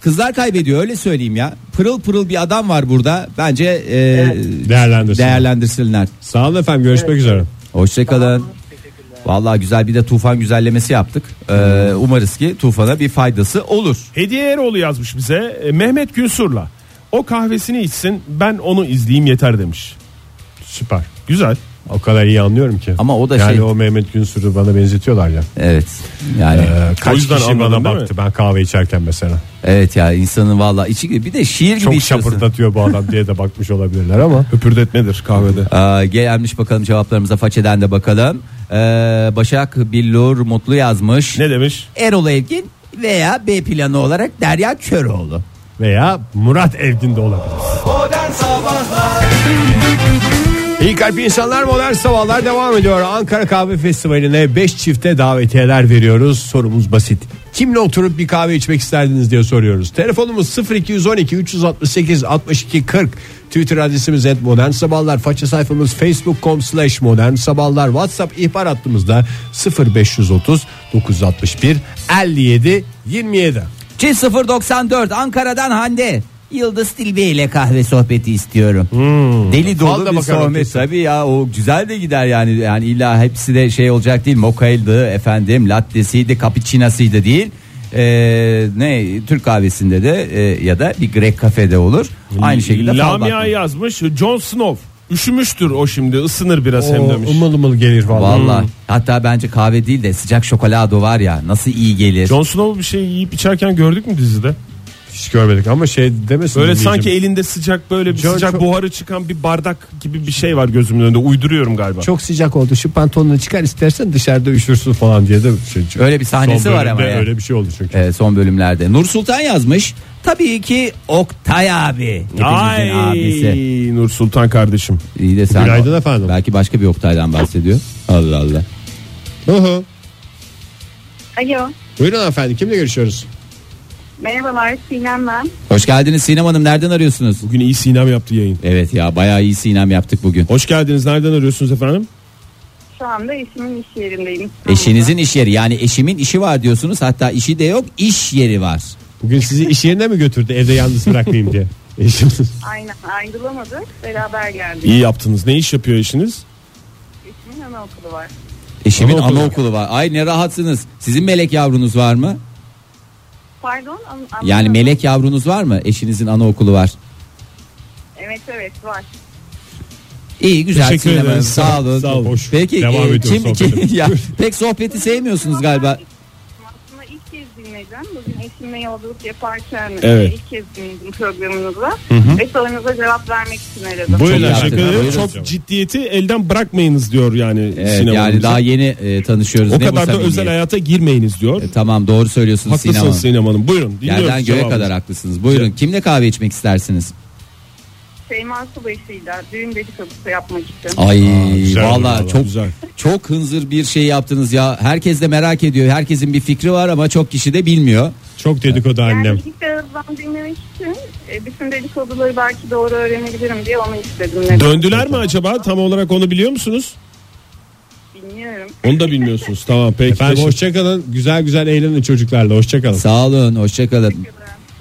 Speaker 3: kızlar kaybediyor öyle söyleyeyim ya. Pırıl pırıl bir adam var burada. Bence e,
Speaker 2: Değerlendirsin.
Speaker 3: değerlendirsinler.
Speaker 2: Sağ olun efendim görüşmek üzere.
Speaker 3: Hoşçakalın. Vallahi güzel bir de tufan güzellemesi yaptık. Ee,
Speaker 2: Hmm.
Speaker 3: umarız ki tufana bir faydası olur.
Speaker 4: Hediye Eroğlu yazmış bize. E, Mehmet Günsur'la. O kahvesini içsin ben onu izleyeyim yeter demiş.
Speaker 2: Süper.
Speaker 4: Güzel.
Speaker 2: O kadar iyi anlıyorum ki.
Speaker 3: Ama o da
Speaker 2: yani
Speaker 3: şey-
Speaker 2: o Mehmet Günsur'u bana benzetiyorlar ya.
Speaker 3: Evet. Yani
Speaker 2: Ee,
Speaker 4: O
Speaker 2: kaç
Speaker 4: yüzden
Speaker 2: kişi
Speaker 4: anladın
Speaker 2: bana
Speaker 4: değil mi?
Speaker 2: baktı ben kahve içerken mesela.
Speaker 3: evet ya insanın vallahi içi bir de şiir gibi
Speaker 2: Çok
Speaker 3: içiyorsun.
Speaker 2: şapırdatıyor bu adam diye de bakmış olabilirler ama.
Speaker 4: Öpürdetmedir kahvede.
Speaker 3: Aa, gelmiş bakalım cevaplarımıza façeden de bakalım. Ee, Başak Billur Mutlu yazmış.
Speaker 4: Ne demiş?
Speaker 3: Erol Evgin veya B planı olarak Derya Köroğlu.
Speaker 2: Veya Murat Evgin de olabilir.
Speaker 1: Modern Sabahlar
Speaker 2: İyi kalp insanlar modern sabahlar devam ediyor. Ankara Kahve Festivali'ne 5 çifte davetiyeler veriyoruz. Sorumuz basit. Kimle oturup bir kahve içmek isterdiniz diye soruyoruz. Telefonumuz 0212 368 62 40. Twitter adresimiz et modern sabahlar. Faça sayfamız facebook.com slash modern sabahlar. Whatsapp ihbar hattımızda 0530 961 57 27.
Speaker 3: 094 Ankara'dan Hande. Yıldız Tilbe ile kahve sohbeti istiyorum. Deli
Speaker 2: Hmm. Fal
Speaker 3: dolu
Speaker 2: da
Speaker 3: bir
Speaker 2: bakar
Speaker 3: sohbet
Speaker 2: ötesi.
Speaker 3: tabii ya o güzel de gider yani. Yani illa hepsi de şey olacak değil. Mokaydı efendim, lattesiydi, cappuccino'sıydı değil. Ee, ne Türk kahvesinde de e, ya da bir Grek kafede olur. Aynı şekilde fal
Speaker 4: Lamia
Speaker 3: bakmak.
Speaker 4: yazmış. Jon Snow. Üşümüştür o şimdi ısınır biraz hem
Speaker 2: O
Speaker 4: demiş.
Speaker 2: ımıl ımıl gelir vallahi.
Speaker 3: Vallahi hatta bence kahve değil de sıcak şokolado var ya nasıl iyi gelir.
Speaker 4: Jon Snow bir şey yiyip içerken gördük mü dizide?
Speaker 2: Hiç görmedik ama şey demesin.
Speaker 4: Böyle
Speaker 2: dinleyicim.
Speaker 4: sanki elinde sıcak böyle bir
Speaker 2: Jon
Speaker 4: sıcak
Speaker 2: çok-
Speaker 4: buharı çıkan bir bardak gibi bir şey var gözümün önünde. Uyduruyorum galiba.
Speaker 2: Çok sıcak oldu şu pantolonunu çıkar istersen dışarıda üşürsün falan diye de şey,
Speaker 3: Öyle bir sahnesi
Speaker 2: Son
Speaker 3: var ama
Speaker 2: bölümde
Speaker 3: ya.
Speaker 2: Öyle bir şey oldu çünkü.
Speaker 3: Ee, son bölümlerde. Nur Sultan yazmış. Tabii ki Oktay abi. Hepimizin
Speaker 4: Ay
Speaker 3: abisi.
Speaker 4: Nur Sultan kardeşim.
Speaker 3: İyi de sen
Speaker 2: Günaydın efendim.
Speaker 3: Belki başka bir Oktay'dan bahsediyor. Allah Allah.
Speaker 2: Hı hı.
Speaker 5: Alo.
Speaker 2: Buyurun efendim kimle görüşüyoruz?
Speaker 5: Merhabalar Sinem ben.
Speaker 3: Hoş geldiniz Sinem Hanım. Nereden arıyorsunuz?
Speaker 4: Bugün iyi sinem yaptı yayın.
Speaker 3: Evet ya bayağı iyi Sinem yaptık bugün.
Speaker 4: Hoş geldiniz. Nereden arıyorsunuz efendim?
Speaker 5: Şu anda eşimin iş yerindeyim.
Speaker 3: Eşinizin iş yeri yani eşimin işi var diyorsunuz. Hatta işi de yok iş yeri var.
Speaker 2: Bugün sizi iş yerine mi götürdü evde yalnız bırakmayayım diye? Eşim.
Speaker 5: Aynen ayrılamadık. Beraber geldik.
Speaker 4: İyi yaptınız. Ne iş yapıyor eşiniz?
Speaker 5: Eşimin anaokulu var.
Speaker 3: Eşimin
Speaker 2: Anaokulu.
Speaker 3: anaokulu var. Ay ne rahatsınız. Sizin melek yavrunuz var mı?
Speaker 5: Pardon. an- anlamadım.
Speaker 3: Yani melek yavrunuz var mı? Eşinizin anaokulu var.
Speaker 5: Evet evet var.
Speaker 3: İyi güzel
Speaker 2: Teşekkür
Speaker 3: Sinem
Speaker 2: ederiz.
Speaker 3: Hanım.
Speaker 2: Sağ
Speaker 3: Sağ
Speaker 2: ol,
Speaker 3: olun.
Speaker 2: sağ ol. Hoş.
Speaker 3: Peki
Speaker 2: Devam
Speaker 3: e,
Speaker 2: ediyoruz
Speaker 3: kim,
Speaker 2: sohbete.
Speaker 3: kim- ya, pek sohbeti sevmiyorsunuz galiba.
Speaker 5: Aslında ilk kez dinledim. Bugün eşimle yolculuk yaparken
Speaker 4: Evet.
Speaker 5: e, ilk kez dinledim programınızı. Ve sorunuza cevap vermek için aradım.
Speaker 3: iyi
Speaker 4: Buyurun
Speaker 3: yaptınız.
Speaker 4: teşekkür ederim.
Speaker 3: Buyurun.
Speaker 4: Çok ciddiyeti elden bırakmayınız diyor yani
Speaker 3: Evet,
Speaker 4: Sinem
Speaker 3: yani
Speaker 4: Hanım.
Speaker 3: daha yeni e, tanışıyoruz.
Speaker 4: O
Speaker 3: Ne bu
Speaker 4: kadar da
Speaker 3: samimiyet?
Speaker 4: özel hayata girmeyiniz diyor.
Speaker 3: E, Tamam doğru söylüyorsunuz Sinem
Speaker 4: Haklısınız
Speaker 3: Hanım.
Speaker 4: Sinem Hanım. Buyurun dinliyoruz.
Speaker 3: Yerden göğe
Speaker 4: cevabınızı.
Speaker 3: kadar haklısınız. Buyurun kimle kahve içmek istersiniz?
Speaker 5: Şeyma Subaşı'yla düğün dedikodusu yapmak için.
Speaker 3: Ay
Speaker 4: Güzel oldu
Speaker 3: valla çok
Speaker 4: güzel.
Speaker 3: çok hınzır bir şey yaptınız ya. Herkes de merak ediyor. Herkesin bir fikri var ama çok kişi de bilmiyor.
Speaker 2: Çok dedikodu annem.
Speaker 5: Yani ilk ağızdan dinlemek için e, bütün dedikoduları belki doğru öğrenebilirim diye onu istedim. Neden?
Speaker 4: Döndüler mi acaba? Tam olarak onu biliyor musunuz?
Speaker 5: Bilmiyorum.
Speaker 4: Onu da bilmiyorsunuz. Tamam peki.
Speaker 2: Efendim
Speaker 4: Teşekkür-
Speaker 2: hoşçakalın güzel güzel eğlenin çocuklarla hoşçakalın.
Speaker 3: Sağ olun, hoşçakalın.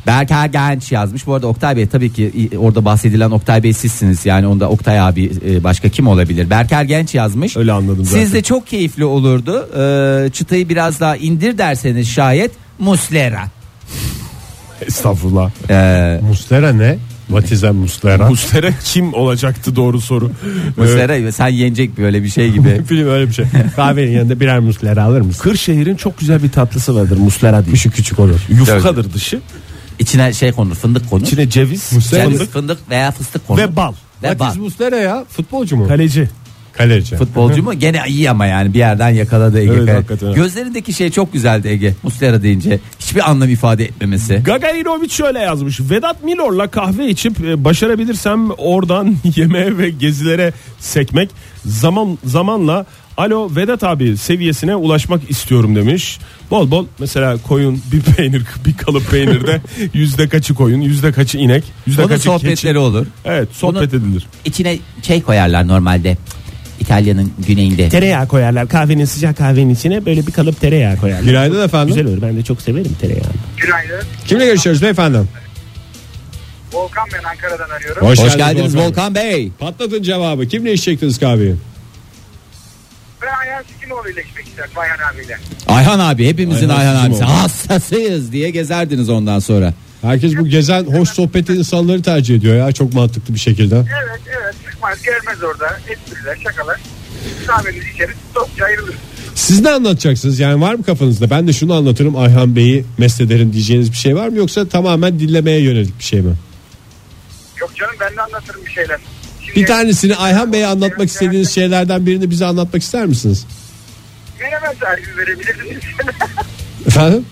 Speaker 3: Berk Ergenç yazmış. Bu arada Oktay Bey tabii ki e, orada bahsedilen Oktay Bey sizsiniz. Yani onda Oktay abi e, başka kim olabilir? Berk Ergenç yazmış.
Speaker 4: Öyle anladım zaten.
Speaker 3: Sizde çok keyifli olurdu. Ee, çıtayı biraz daha indir derseniz şayet Muslera.
Speaker 4: Estağfurullah.
Speaker 3: Ee,
Speaker 2: Muslera ne? Vatizen Muslera.
Speaker 4: Mustera kim olacaktı doğru soru. Ee,
Speaker 3: Muslera sen yenecek böyle bir şey gibi.
Speaker 2: Film öyle bir şey. Kahvenin yanında birer muslera alır mısın?
Speaker 4: Kırşehir'in çok güzel bir tatlısı vardır muslera diye.
Speaker 2: Kuşu küçük olur.
Speaker 4: Yufkadır dışı.
Speaker 3: İçine şey konur fındık konur.
Speaker 4: İçine ceviz,
Speaker 2: Muslera
Speaker 3: Ceviz,
Speaker 4: fındık
Speaker 3: fındık veya fıstık konur.
Speaker 4: ve bal.
Speaker 3: Ve bal.
Speaker 2: Vatiz Muslera ya futbolcu mu?
Speaker 4: Kaleci.
Speaker 2: Kaleci.
Speaker 3: Futbolcu mu? Gene iyi ama yani bir yerden yakaladı Ege.
Speaker 4: Evet,
Speaker 3: Kaya.
Speaker 4: hakikaten.
Speaker 3: Gözlerindeki şey çok güzeldi Ege. Muslera deyince hiçbir anlam ifade etmemesi.
Speaker 4: Gagarinovic şöyle yazmış. Vedat Milor'la kahve içip e, başarabilirsem oradan yemeğe ve gezilere sekmek zaman zamanla Alo Vedat abi seviyesine ulaşmak istiyorum demiş. Bol bol mesela koyun bir peynir bir kalıp peynirde yüzde kaçı koyun yüzde kaçı inek yüzde
Speaker 3: Onun
Speaker 4: kaçı
Speaker 3: sohbetleri
Speaker 4: keçi.
Speaker 3: olur.
Speaker 4: Evet sohbet
Speaker 3: Bunu-
Speaker 4: edilir.
Speaker 3: İçine şey koyarlar normalde. İtalya'nın güneyinde.
Speaker 4: Tereyağı koyarlar kahvenin sıcak kahvenin içine böyle bir kalıp tereyağı koyarlar.
Speaker 2: Günaydın efendim.
Speaker 4: olur ben de çok severim tereyağı.
Speaker 9: Günaydın.
Speaker 2: Kimle görüşüyoruz beyefendi?
Speaker 9: Volkan ben Ankara'dan arıyorum.
Speaker 3: Hoş, geldiniz Volkan Bey.
Speaker 2: Patladın cevabı. Kimle içecektiniz kahveyi?
Speaker 9: Ben Ayhan Sikimoğlu ile içmek istedim Ayhan abiyle.
Speaker 3: Ayhan abi hepimizin
Speaker 2: Ayhan
Speaker 3: Ayhan,
Speaker 2: sizin
Speaker 3: abisi.
Speaker 2: oldu.
Speaker 3: Hassasıyız diye gezerdiniz ondan sonra.
Speaker 2: Herkes bu gezen hoş sohbet insanları tercih ediyor ya. Çok mantıklı bir şekilde.
Speaker 9: Evet evet çıkmaz görmez orada. Espriler şakalar. Kahvenizi içeriz topça ayrılırız.
Speaker 2: Siz ne anlatacaksınız? Yani var mı kafanızda? Ben de şunu anlatırım Ayhan Bey'i meslederim diyeceğiniz bir şey var mı? Yoksa tamamen dinlemeye yönelik bir şey mi?
Speaker 9: Yok canım ben de anlatırım bir şeyler. Şimdi
Speaker 2: Bir tanesini Ayhan Bey'e anlatmak istediğiniz şey- şeylerden birini bize anlatmak ister misiniz?
Speaker 9: Menemen tarifi verebilirsiniz.
Speaker 2: Efendim?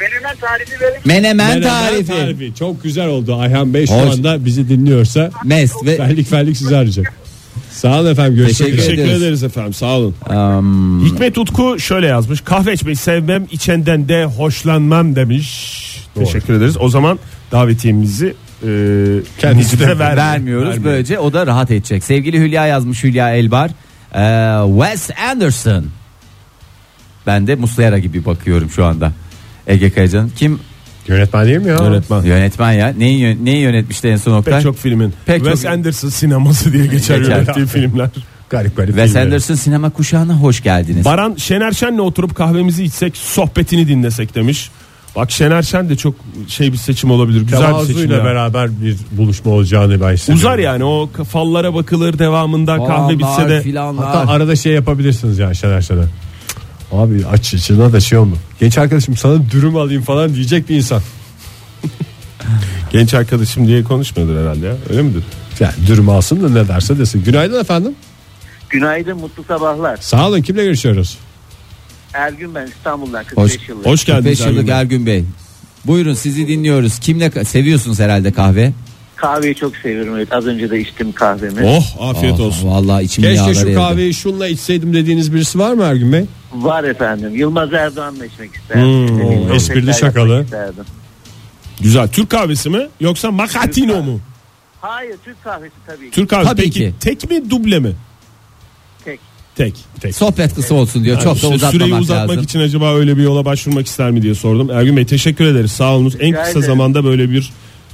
Speaker 9: Menemen tarifi verebilirsiniz.
Speaker 3: Menemen,
Speaker 2: Menemen
Speaker 3: tarifi.
Speaker 2: Çok güzel oldu Ayhan Bey. Şu
Speaker 3: Hoş.
Speaker 2: anda bizi dinliyorsa
Speaker 3: Mes ve
Speaker 2: fellik fellik sizi arayacak. Sağ olun efendim. Görüşmek
Speaker 3: Teşekkür
Speaker 2: üzere.
Speaker 3: ederiz.
Speaker 2: efendim. Sağ olun.
Speaker 3: Am,
Speaker 4: Hikmet Utku şöyle yazmış. Kahve içmeyi sevmem, içenden de hoşlanmam demiş. Teşekkür ederiz. O zaman davetiyemizi e,
Speaker 2: Kendisi
Speaker 4: kendisine
Speaker 2: de
Speaker 4: ver.
Speaker 3: vermiyoruz böylece o da rahat edecek. Sevgili Hülya yazmış Hülya Elbar. Ee, Wes Anderson. Ben de Muslera gibi bakıyorum şu anda. Ege Kayacan kim?
Speaker 2: Yönetmen değil mi ya?
Speaker 4: Yönetmen.
Speaker 3: Yönetmen ya. Neyi, yön- neyi yönetmişti en son
Speaker 4: Pek
Speaker 3: Oktay?
Speaker 4: çok filmin.
Speaker 3: Pek
Speaker 4: Wes
Speaker 3: çok-
Speaker 4: Anderson sineması diye geçer,
Speaker 3: Geçer.
Speaker 4: yönettiği filmler.
Speaker 2: Garip garip.
Speaker 3: Wes
Speaker 2: filmleri.
Speaker 3: Anderson sinema kuşağına hoş geldiniz.
Speaker 4: Baran Şener Şen'le oturup kahvemizi içsek, sohbetini dinlesek demiş. Bak Şener Şen de çok şey bir seçim olabilir. Güzel bir seçim.
Speaker 2: Tevazuyla
Speaker 4: ya.
Speaker 2: beraber bir buluşma olacağını ben hissediyorum.
Speaker 4: Uzar yani o fallara bakılır devamında kahve bitse de.
Speaker 3: Filanlar.
Speaker 2: Hatta arada şey yapabilirsiniz yani Şener Şen'e. Abi aç içine de şey olma. Genç arkadaşım sana dürüm alayım falan diyecek bir insan.
Speaker 4: Genç arkadaşım diye konuşmuyordur herhalde ya. Öyle midir?
Speaker 2: Yani dürüm alsın da ne derse desin. Günaydın efendim.
Speaker 6: Günaydın, mutlu sabahlar.
Speaker 2: Sağ olun kimle görüşüyoruz?
Speaker 6: Ergün ben İstanbul'dan 45
Speaker 3: Hoş-
Speaker 6: yıllık.
Speaker 4: Hoş geldiniz.
Speaker 3: 45 yıllık
Speaker 4: Ergün Bey.
Speaker 3: Ergün Bey. Buyurun sizi dinliyoruz. Kimle ka- seviyorsunuz herhalde kahve?
Speaker 6: Kahveyi çok seviyorum. Evet, az önce de içtim kahvemi.
Speaker 4: Oh afiyet
Speaker 3: Aa,
Speaker 4: olsun.
Speaker 3: Ah, Vallahi içimin
Speaker 2: Keşke
Speaker 3: yağları
Speaker 2: şu
Speaker 3: eridi.
Speaker 2: kahveyi şunla içseydim dediğiniz birisi var mı Ergün Bey?
Speaker 6: Var efendim. Yılmaz Erdoğan'la içmek
Speaker 4: Hmm,
Speaker 6: isterdim. Seninle
Speaker 2: esprili
Speaker 6: sohbetler yapmak
Speaker 2: şakalı.
Speaker 6: isterdim.
Speaker 4: Güzel. Türk kahvesi mi yoksa macatino mu?
Speaker 6: Hayır, Türk kahvesi tabii ki.
Speaker 4: Türk kahvesi.
Speaker 3: Tabii
Speaker 4: Peki
Speaker 3: ki.
Speaker 4: tek mi duble mi?
Speaker 6: Tek.
Speaker 4: Tek. Tek.
Speaker 3: Sohbet kısa olsun diyor. Çok da
Speaker 4: İşte
Speaker 3: uzatmamak
Speaker 4: süreyi uzatmak
Speaker 3: lazım.
Speaker 4: için acaba öyle bir yola başvurmak ister mi diye sordum. Ergün Bey teşekkür ederiz. Sağ olunuz. En
Speaker 6: Rica
Speaker 4: kısa
Speaker 6: ederim.
Speaker 4: zamanda böyle bir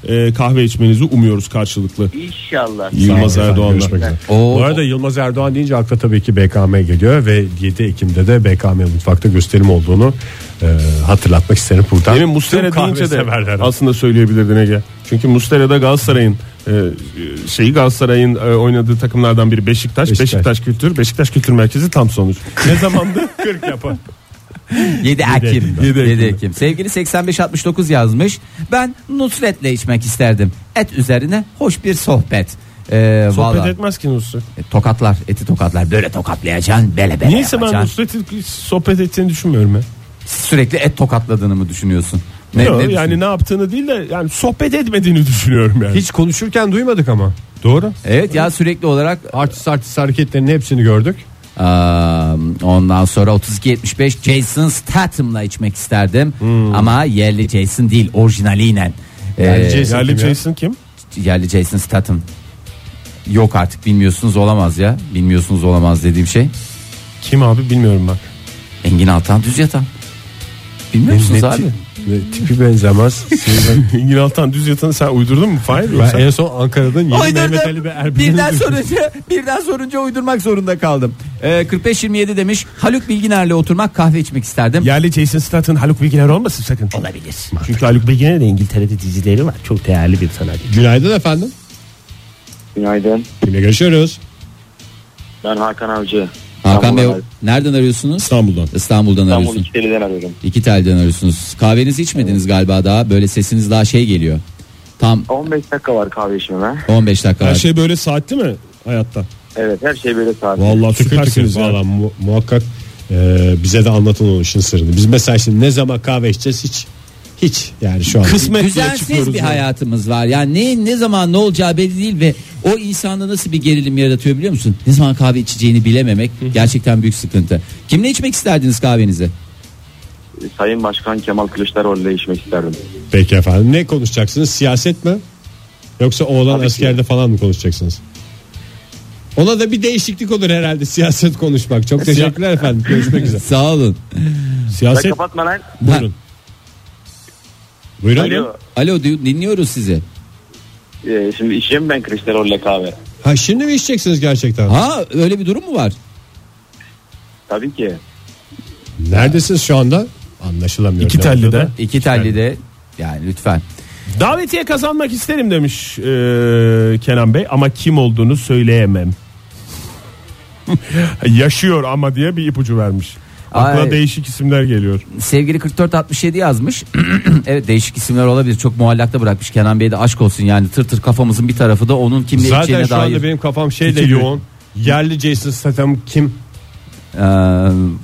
Speaker 4: e, kahve içmenizi umuyoruz karşılıklı.
Speaker 6: İnşallah.
Speaker 4: Yılmaz
Speaker 2: Efendim,
Speaker 4: Erdoğan'la.
Speaker 2: görüşmek üzere.
Speaker 3: Oo.
Speaker 2: Bu arada Yılmaz Erdoğan deyince akla tabii ki BKM geliyor ve 7 Ekim'de de BKM mutfakta gösterim olduğunu e, hatırlatmak isterim buradan.
Speaker 4: Demin
Speaker 2: Tüm
Speaker 4: Mustera
Speaker 2: kahve
Speaker 4: deyince de
Speaker 2: severlere.
Speaker 4: aslında söyleyebilirdin Ege. Çünkü Mustera'da Galatasaray'ın e, şeyi Galatasaray'ın e, oynadığı takımlardan biri Beşiktaş.
Speaker 2: Beşiktaş.
Speaker 4: Beşiktaş. Kültür. Beşiktaş Kültür Merkezi tam sonuç. Ne zamandı? 40 yapar.
Speaker 3: 7 Ekim.
Speaker 4: Yedi
Speaker 3: 7
Speaker 4: Ekim.
Speaker 3: Ekim. Sevgili 8569 yazmış. Ben Nusret'le içmek isterdim. Et üzerine hoş bir sohbet. Ee,
Speaker 4: Sohbet
Speaker 3: valla,
Speaker 4: etmez ki Nusret.
Speaker 3: e, tokatlar, eti tokatlar. Böyle tokatlayacaksın, bele bele
Speaker 4: Niyeyse ben
Speaker 3: yapacaksın.
Speaker 4: Nusret'in hiç sohbet ettiğini düşünmüyorum ya.
Speaker 3: Sürekli et tokatladığını mı düşünüyorsun? Ne,
Speaker 4: Yok,
Speaker 3: ne
Speaker 4: yani
Speaker 3: düşünüyorsun?
Speaker 4: ne yaptığını değil de yani sohbet etmediğini düşünüyorum yani.
Speaker 2: Hiç konuşurken duymadık ama. Doğru.
Speaker 3: Evet ya sürekli olarak
Speaker 2: Artist artist hareketlerinin hepsini gördük.
Speaker 3: Aa, ondan sonra 32-75 Jason Statham'la içmek isterdim. Ama yerli Jason değil orijinaliyle. Ee,
Speaker 2: Hmm. Yerli Jason.
Speaker 4: Yerli
Speaker 2: kim ya?
Speaker 4: Jason kim?
Speaker 3: yerli Jason Statham. Yok artık bilmiyorsunuz olamaz ya. Bilmiyorsunuz olamaz dediğim şey.
Speaker 4: Kim abi bilmiyorum ben.
Speaker 3: Engin Altan düz yatan. Bilmiyor musunuz abi?
Speaker 2: Ve tipi benzemez.
Speaker 4: İngil Altan düz yatanı sen uydurdun mu? Hayır
Speaker 2: ben e, en son Ankara'dan yeni
Speaker 3: Uydurdum.
Speaker 2: Mehmet Ali ve Erbil'in
Speaker 3: birden sorunca birden sorunca uydurmak zorunda kaldım. Ee, 45-27 demiş. Haluk Bilginer'le oturmak kahve içmek isterdim.
Speaker 4: Yerli Jason Statham Haluk Bilginer olmasın sakın.
Speaker 3: Olabilir.
Speaker 4: Çünkü Haluk Bilginer'in de İngiltere'de dizileri var. Çok değerli bir sanatçı.
Speaker 2: Günaydın efendim.
Speaker 7: Günaydın.
Speaker 2: Kimle görüşüyoruz?
Speaker 7: Ben Hakan Avcı.
Speaker 3: Hakan Bey
Speaker 7: İstanbul'dan arıyorum.
Speaker 3: nereden arıyorsunuz?
Speaker 4: İstanbul'dan.
Speaker 3: İstanbul'dan
Speaker 7: İstanbul
Speaker 3: arıyorsunuz.
Speaker 7: İçeri'den arıyorum.
Speaker 3: İki telden arıyorsunuz. Kahvenizi içmediniz galiba daha. Böyle sesiniz daha şey geliyor. Tam
Speaker 7: 15 dakika var kahve içmeme.
Speaker 3: 15 dakika
Speaker 4: Her
Speaker 3: var.
Speaker 4: şey böyle saatli mi hayatta?
Speaker 7: Evet her şey böyle sabit.
Speaker 2: Vallahi
Speaker 4: Süpersiniz
Speaker 2: süpersiniz
Speaker 4: ya.
Speaker 2: valla mu- muhakkak e, bize de anlatın o işin sırrını. Biz mesela şimdi ne zaman kahve içeceğiz hiç. Hiç yani şu an.
Speaker 4: Kısmet diye
Speaker 3: Düzensiz
Speaker 4: çıkıyoruz.
Speaker 3: bir
Speaker 4: yani.
Speaker 3: hayatımız var. Yani ne ne zaman ne olacağı belli değil ve o insanda nasıl bir gerilim yaratıyor biliyor musun? Ne zaman kahve içeceğini bilememek gerçekten büyük sıkıntı. Kimle içmek isterdiniz kahvenizi?
Speaker 7: Ee, Sayın Başkan Kemal Kılıçdaroğlu ile içmek isterdim.
Speaker 2: Peki efendim ne konuşacaksınız siyaset mi? Yoksa oğlan askerde falan mı konuşacaksınız? Ona da bir değişiklik olur herhalde siyaset konuşmak. Çok teşekkürler efendim. Görüşmek üzere.
Speaker 3: Sağ olun.
Speaker 7: Ben
Speaker 2: Siyaset
Speaker 7: kapatma lan.
Speaker 2: buyurun. Buyurun.
Speaker 7: Alo.
Speaker 3: Alo du- dinliyoruz sizi.
Speaker 7: Ee, şimdi içeyim ben Kılıçdaroğlu ile kahve.
Speaker 2: Ha şimdi mi içeceksiniz gerçekten?
Speaker 3: Ha öyle bir durum mu var?
Speaker 7: Tabii ki.
Speaker 2: Neredesiniz şu anda? Anlaşılamıyor.
Speaker 4: İki telli de.
Speaker 3: İki telli de yani lütfen.
Speaker 4: Davetiye kazanmak isterim demiş e, Kenan Bey ama kim olduğunu söyleyemem. Yaşıyor ama diye bir ipucu vermiş. Aklına
Speaker 3: Ay.
Speaker 4: değişik isimler geliyor.
Speaker 3: Sevgili 4467 yazmış. evet değişik isimler olabilir. Çok muallakta bırakmış Kenan Bey de aşk olsun yani tır tır kafamızın bir tarafı da onun kimle
Speaker 2: Zaten
Speaker 3: içeceğine
Speaker 2: şu
Speaker 3: dair.
Speaker 2: anda benim kafam şeyle
Speaker 4: Fikir yok.
Speaker 2: yoğun. Yerli Jason Statham kim?
Speaker 3: Ee,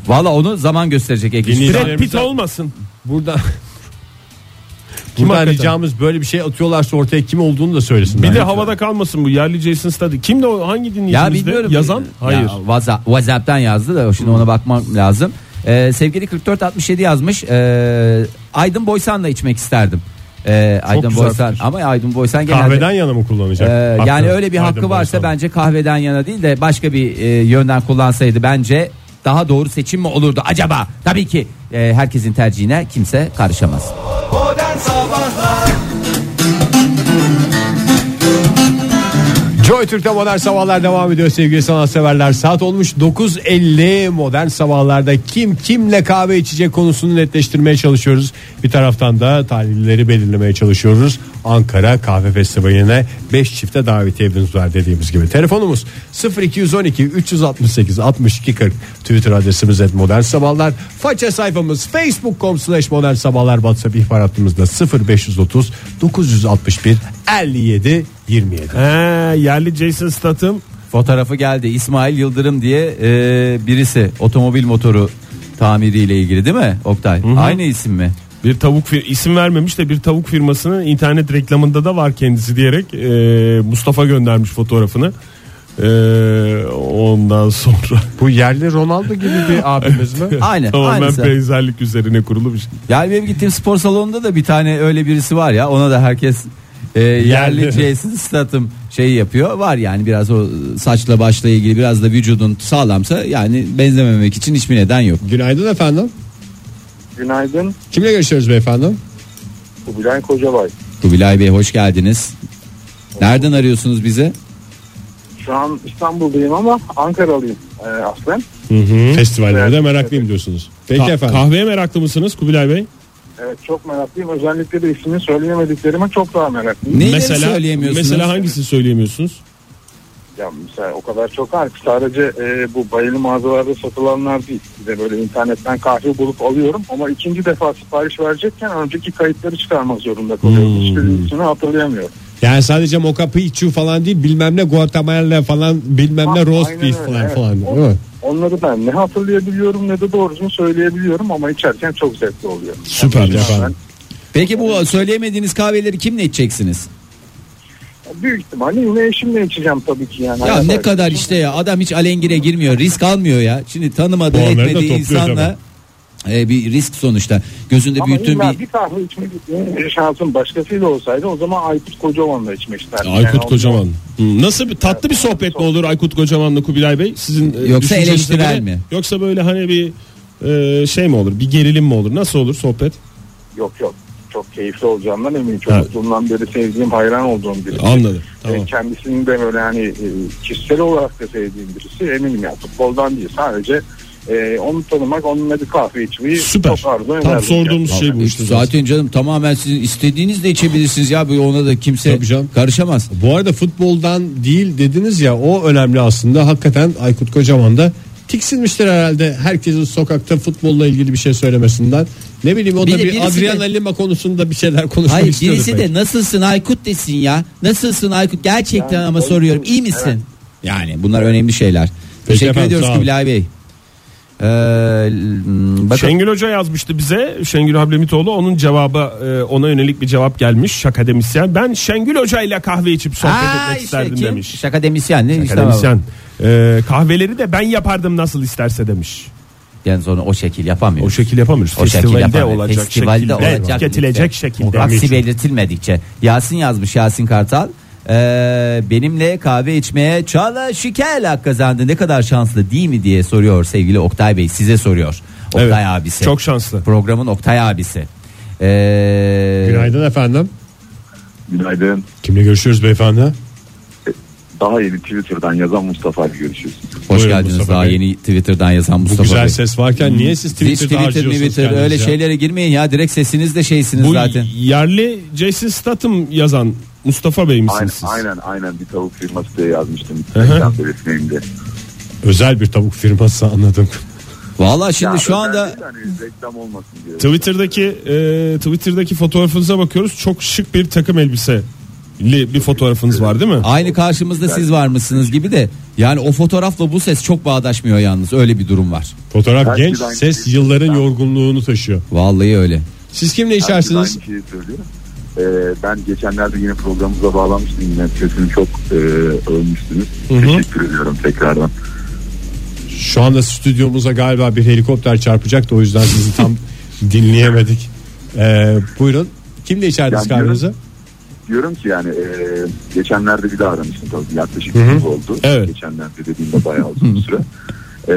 Speaker 3: Valla onu zaman gösterecek Ege.
Speaker 2: Dinleyicilerimize-
Speaker 4: Brad Pitt olmasın.
Speaker 2: Burada
Speaker 4: Kim
Speaker 2: Buradan
Speaker 4: hakikaten?
Speaker 2: ricamız böyle bir şey atıyorlarsa ortaya kim olduğunu da söylesin.
Speaker 4: Bir de havada kalmasın bu yerli Jason Statham. Kimdi o hangi
Speaker 3: Ya
Speaker 4: dinleyicimizdi?
Speaker 3: bilmiyorum.
Speaker 4: Yazan?
Speaker 3: Ya,
Speaker 4: Hayır.
Speaker 3: WhatsApp- WhatsApp'tan yazdı da şimdi ona bakmam lazım. Ee, sevgili 4467 yazmış. Ee, Aydın Boysan'la içmek isterdim. Ee, Aydın
Speaker 4: güzel
Speaker 3: Boysan
Speaker 4: fikir.
Speaker 3: ama Aydın Boysan genelde
Speaker 2: kahveden yana mı kullanacak?
Speaker 3: Ee,
Speaker 2: Hakkı.
Speaker 3: yani öyle bir
Speaker 2: Aydın
Speaker 3: hakkı varsa
Speaker 2: Boysan.
Speaker 3: bence kahveden yana değil de başka bir e, yönden kullansaydı bence daha doğru seçim mi olurdu acaba? Tabii ki e, herkesin tercihine kimse karışamaz.
Speaker 1: Modern Sabahlar
Speaker 2: Joy Türk'te modern sabahlar devam ediyor sevgili sanatseverler. Saat olmuş 9.50 modern sabahlarda kim kimle kahve içecek konusunu netleştirmeye çalışıyoruz. Bir taraftan da tarihleri belirlemeye çalışıyoruz. Ankara Kahve Festivali'ne 5 çifte davetiyemiz var dediğimiz gibi. Telefonumuz 0212 368 62 40 Twitter adresimiz et modern sabahlar. Faça sayfamız facebook.com slash modern sabahlar WhatsApp ihbar hattımızda 0530 961 57 27.
Speaker 4: He, yerli Jason Statham
Speaker 3: Fotoğrafı geldi İsmail Yıldırım diye e, birisi otomobil motoru tamiriyle ilgili değil mi Oktay? Aynı isim mi?
Speaker 4: bir tavuk fir- isim vermemiş de bir tavuk firmasının internet reklamında da var kendisi diyerek e, Mustafa göndermiş fotoğrafını. E, ondan sonra
Speaker 2: Bu yerli Ronaldo gibi bir abimiz mi?
Speaker 3: Aynen.
Speaker 4: tamamen
Speaker 3: aynısı.
Speaker 4: benzerlik üzerine kurulu bir şey.
Speaker 3: Yani benim gittiğim spor salonunda da bir tane öyle birisi var ya ona da herkes e, yerli Jason Statham şeyi yapıyor. Var yani biraz o saçla başla ilgili biraz da vücudun sağlamsa yani benzememek için hiçbir neden yok.
Speaker 2: Günaydın efendim.
Speaker 7: Günaydın.
Speaker 2: Kimle görüşüyoruz beyefendi?
Speaker 7: Kubilay Kocabay.
Speaker 3: Kubilay Bey hoş geldiniz. Nereden arıyorsunuz bizi?
Speaker 7: Şu an İstanbul'dayım ama Ankaralıyım e, aslen.
Speaker 2: Festivallerde meraklıyım diyorsunuz. Peki
Speaker 4: Ka-
Speaker 2: efendim.
Speaker 4: kahveye meraklı mısınız Kubilay Bey?
Speaker 7: Evet çok meraklıyım. Özellikle de ismini söyleyemediklerime çok daha meraklıyım.
Speaker 3: Neyleri söyleyemiyorsunuz?
Speaker 4: Mesela hangisini söyleyemiyorsunuz?
Speaker 7: Ya mesela o kadar çok var ki sadece e, bu bayılı mağazalarda satılanlar değil. Bir de böyle internetten kahve bulup alıyorum ama ikinci defa sipariş verecekken önceki kayıtları çıkarmak zorunda kalıyorum.
Speaker 2: Hmm.
Speaker 7: Hiçbirinin ismini hatırlayamıyorum.
Speaker 2: Yani sadece moka pichu falan değil bilmem ne Guatemala falan bilmem ne
Speaker 7: Ha,
Speaker 2: roast
Speaker 7: aynen
Speaker 2: beef
Speaker 7: öyle,
Speaker 2: falan
Speaker 7: evet.
Speaker 2: falan değil mi?
Speaker 7: Onları ben ne hatırlayabiliyorum ne de doğrusunu söyleyebiliyorum ama içerken çok zevkli oluyor.
Speaker 2: Süper
Speaker 7: Yani
Speaker 2: efendim.
Speaker 3: Peki bu söyleyemediğiniz kahveleri kimle içeceksiniz?
Speaker 7: ben Büyük ihtimalle yine eşimle içeceğim tabii ki yani.
Speaker 3: Ya
Speaker 7: Hayat
Speaker 3: ne
Speaker 7: arkadaşım.
Speaker 3: kadar işte ya adam hiç alengire girmiyor risk almıyor ya. Şimdi tanımadığı
Speaker 2: Puanları da
Speaker 3: etmediği
Speaker 2: topluyor
Speaker 3: insanla e, bir risk sonuçta. Gözünde
Speaker 7: Ama
Speaker 3: büyüttüğün
Speaker 7: illa
Speaker 3: bir
Speaker 7: bir... kahve içmek için şansım başkasıyla olsaydı o zaman Aykut Kocaman'la içmek isterdim.
Speaker 4: Aykut
Speaker 7: Yani o-
Speaker 4: Kocaman. Hmm, Nasıl bir tatlı bir sohbet mi olur Aykut Kocaman'la Kubilay Bey? Sizin e,
Speaker 3: Yoksa
Speaker 4: düşünceniz de
Speaker 3: eleştirel
Speaker 4: böyle-
Speaker 3: mi?
Speaker 4: Yoksa böyle hani bir e, şey mi olur? Bir gerilim mi olur? Nasıl olur sohbet?
Speaker 7: Yok yok. Çok keyifli olacağından eminim. Çocukluğumdan beri sevdiğim, hayran olduğum biri.
Speaker 4: Anladım. Tamam.
Speaker 7: E, Kendisini de böyle hani e, kişisel olarak da sevdiğim birisi eminim ya. Futboldan değil sadece e, onu tanımak, onunla bir kahve içmeyi
Speaker 4: Süper.
Speaker 7: çok arzu ederdim.
Speaker 4: Tam sorduğumuz
Speaker 7: Yani.
Speaker 4: şey bu işte. zaten.
Speaker 3: Zaten canım tamamen sizin istediğiniz de içebilirsiniz ya bu ona da kimse
Speaker 2: Tabii canım.
Speaker 3: karışamaz.
Speaker 2: Bu arada futboldan değil dediniz ya o önemli aslında. Hakikaten Aykut Kocaman da tiksinmiştir herhalde herkesin sokakta futbolla ilgili bir şey söylemesinden. Ne bileyim o
Speaker 3: Bir
Speaker 2: da
Speaker 3: de
Speaker 2: bir,
Speaker 3: birisi
Speaker 2: Adriana
Speaker 3: de-
Speaker 2: Lima konusunda bir şeyler konuşmak
Speaker 3: Hayır
Speaker 4: şey
Speaker 2: istiyordu
Speaker 3: birisi
Speaker 2: belki.
Speaker 3: de nasılsın Aykut desin ya. Nasılsın Aykut gerçekten ama soruyorum iyi misin? Yani bunlar önemli şeyler. Teşekkür
Speaker 2: efendim,
Speaker 3: ediyoruz
Speaker 2: sağ olun.
Speaker 3: Kubilay Bey. Ee, hmm, bakın.
Speaker 4: Şengül Hoca yazmıştı bize. Şengül Hablemitoğlu onun cevabı e, ona yönelik bir cevap gelmiş akademisyen. Ben Şengül Hoca ile kahve içip sohbet
Speaker 3: Aa,
Speaker 4: etmek
Speaker 3: işte
Speaker 4: isterdim
Speaker 3: kim?
Speaker 4: demiş.
Speaker 3: Şaka demisyen ne? İşte
Speaker 4: Akademisyen. E, kahveleri de ben yapardım nasıl isterse demiş.
Speaker 3: Yani sonra o şekil yapamıyor.
Speaker 4: O şekil yapamıyoruz.
Speaker 3: O şekil
Speaker 4: Festivalde
Speaker 3: yapamıyoruz.
Speaker 4: olacak
Speaker 3: Festivalde
Speaker 4: şekilde,
Speaker 3: olacak
Speaker 4: tüketilecek
Speaker 3: işte.
Speaker 4: şekilde.
Speaker 3: Aksi belirtilmedikçe. Yasin yazmış Yasin Kartal. Ee, benimle kahve içmeye Çağla Şikel hak kazandı. Ne kadar şanslı değil mi diye soruyor sevgili Oktay Bey. Size soruyor. Oktay
Speaker 4: Evet,
Speaker 3: abisi.
Speaker 4: Çok şanslı.
Speaker 3: Programın Oktay abisi. Ee,
Speaker 2: Günaydın efendim.
Speaker 7: Günaydın.
Speaker 2: Kimle görüşüyoruz beyefendi?
Speaker 7: Daha yeni Twitter'dan yazan Mustafa ile görüşürüz.
Speaker 3: Hoş
Speaker 2: Buyurun
Speaker 3: geldiniz
Speaker 2: Mustafa
Speaker 3: daha
Speaker 2: Bey.
Speaker 3: yeni Twitter'dan yazan
Speaker 2: Bu
Speaker 3: Mustafa
Speaker 2: güzel
Speaker 3: Bey.
Speaker 2: ses varken niye siz
Speaker 3: Hiç
Speaker 2: Twitter'da
Speaker 3: Twitter,
Speaker 2: harcıyorsunuz
Speaker 3: Twitter
Speaker 2: kendinizi
Speaker 3: öyle
Speaker 2: ya?
Speaker 3: şeylere girmeyin ya. Direkt sesiniz de şeysiniz
Speaker 4: Bu
Speaker 3: zaten.
Speaker 4: yerli Jason Statham yazan Mustafa Bey misiniz
Speaker 7: Aynen,
Speaker 4: siz?
Speaker 7: aynen aynen bir tavuk firması diye yazmıştım.
Speaker 4: Hı hı.
Speaker 7: Instagram resmimde.
Speaker 2: Özel bir tavuk firması anladım.
Speaker 3: Vallahi şimdi şu
Speaker 7: özel
Speaker 3: anda
Speaker 7: değil de hani reklam olmasın diye.
Speaker 4: Twitter'daki e, Twitter'daki fotoğrafınıza bakıyoruz. Çok şık bir takım elbiseli bir fotoğrafınız var değil mi?
Speaker 3: Aynı karşımızda siz var mısınız gibi de yani o fotoğrafla bu ses çok bağdaşmıyor yalnız öyle bir durum var.
Speaker 2: Fotoğraf
Speaker 7: Herkes
Speaker 2: genç,
Speaker 7: aynı
Speaker 2: ses
Speaker 7: şey.
Speaker 2: yılların yorgunluğunu taşıyor.
Speaker 3: Vallahi öyle.
Speaker 2: Siz kimle
Speaker 7: Herkes
Speaker 2: içersiniz?
Speaker 7: Aynı şeyi söylüyor. şey Ee, ben geçenlerde yine programımıza bağlanmıştım. Yine sesini çok e, övmüştünüz. Teşekkür ediyorum tekrardan.
Speaker 2: Şu anda stüdyomuza galiba bir helikopter çarpacak da o yüzden sizi tam dinleyemedik. Ee, buyurun. Kimle içerdiniz
Speaker 7: Yani
Speaker 2: kahvenizi?
Speaker 7: Diyorum ki yani e, geçenlerde bir daha aramıştım tabii. Yaklaşık
Speaker 2: Hı
Speaker 7: bir
Speaker 2: hı.
Speaker 7: yıl oldu.
Speaker 2: Evet.
Speaker 7: Geçenlerde dediğimde bayağı uzun bir süre. E,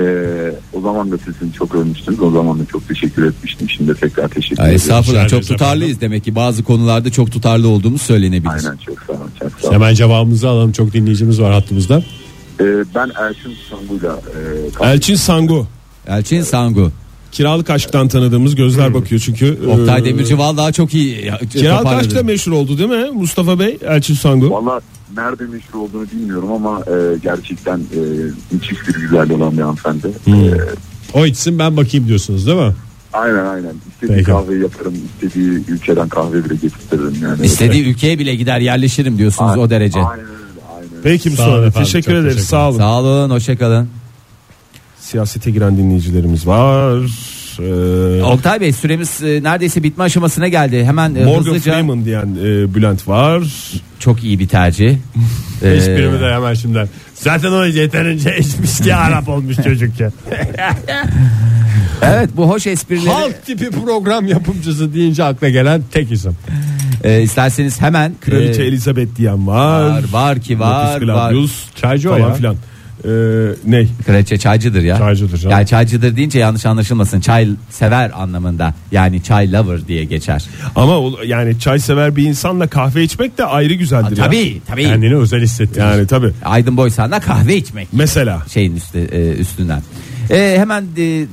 Speaker 7: o zaman da sesini çok övmüştünüz. O zaman da çok teşekkür etmiştim. Şimdi de tekrar teşekkür
Speaker 3: Ay,
Speaker 7: ediyorum.
Speaker 3: estağfurullah çok
Speaker 2: Serbest
Speaker 3: tutarlıyız demek ki bazı konularda çok tutarlı olduğumuz söylenebilir.
Speaker 7: Aynen çok sağ olun. Çok sağ olun.
Speaker 2: Hemen cevabımızı alalım. Çok dinleyicimiz var hattımızda.
Speaker 7: E, ben Ersin Sangu'yla e, kaldım.
Speaker 4: Elçin Sangu.
Speaker 3: Elçin Sangu.
Speaker 4: Kiralık aşktan tanıdığımız gözler
Speaker 2: Hmm.
Speaker 4: bakıyor çünkü. e,
Speaker 3: Oktay Demirci vallahi çok iyi ya-
Speaker 4: Kiralık
Speaker 3: toparladı.
Speaker 4: aşkta meşhur oldu değil mi Mustafa Bey? Elçin Sangu.
Speaker 7: Valla nerede meşhur olduğunu bilmiyorum ama e, gerçekten e, müthiş bir güzelliği olan bir hanımefendi. E,
Speaker 2: O içsin ben bakayım diyorsunuz değil mi?
Speaker 7: aynen aynen. İstediği
Speaker 2: Peki.
Speaker 7: kahveyi yaparım. istediği ülkeden kahve bile getirtirim. Yani.
Speaker 3: İstediği ülkeye bile gider yerleşirim diyorsunuz o derece.
Speaker 7: Aynen öyle, aynen öyle.
Speaker 2: Sağ
Speaker 4: Peki
Speaker 2: olun
Speaker 4: Mustafa Bey.
Speaker 2: efendim,
Speaker 4: Teşekkür
Speaker 2: çok
Speaker 4: ederiz.
Speaker 2: teşekkür
Speaker 4: Sağ olun.
Speaker 3: Sağ olun hoşçakalın.
Speaker 4: Siyasete giren dinleyicilerimiz var. E,
Speaker 3: Oktay Bey süremiz e, neredeyse bitme aşamasına geldi. Hemen e,
Speaker 4: Morgan
Speaker 3: hızlıca
Speaker 4: Freeman diyen e, Bülent var.
Speaker 3: çok iyi bir tercih. Ee,
Speaker 2: Hiçbirimi de hemen şimdiden. Zaten o yeterince içmiş diye Arap olmuş çocuk ya.
Speaker 3: evet bu hoş esprileri.
Speaker 2: Halk tipi program yapımcısı deyince akla gelen tek isim.
Speaker 3: E, isterseniz hemen
Speaker 4: Kraliçe
Speaker 3: e,
Speaker 4: Elizabeth diyen var.
Speaker 3: var var ki var
Speaker 4: Lapis
Speaker 3: var.
Speaker 4: Gladius,
Speaker 2: Çaycı o
Speaker 4: falan
Speaker 2: ya.
Speaker 4: filan. E, ne?
Speaker 3: Kraliçe çaycıdır ya.
Speaker 2: Çaycıdır canım.
Speaker 3: Yani çaycıdır deyince yanlış anlaşılmasın. Çay sever anlamında. Yani çay lover diye geçer.
Speaker 4: Ama o- yani çay sever bir insanla kahve içmek de ayrı güzeldir ya.
Speaker 3: Tabii tabii.
Speaker 2: Kendini özel hissettirir.
Speaker 4: Yani tabii.
Speaker 3: Aydın Boysan'la kahve içmek
Speaker 4: Mesela
Speaker 3: şeyin üstü, e, üstünden. E, hemen e,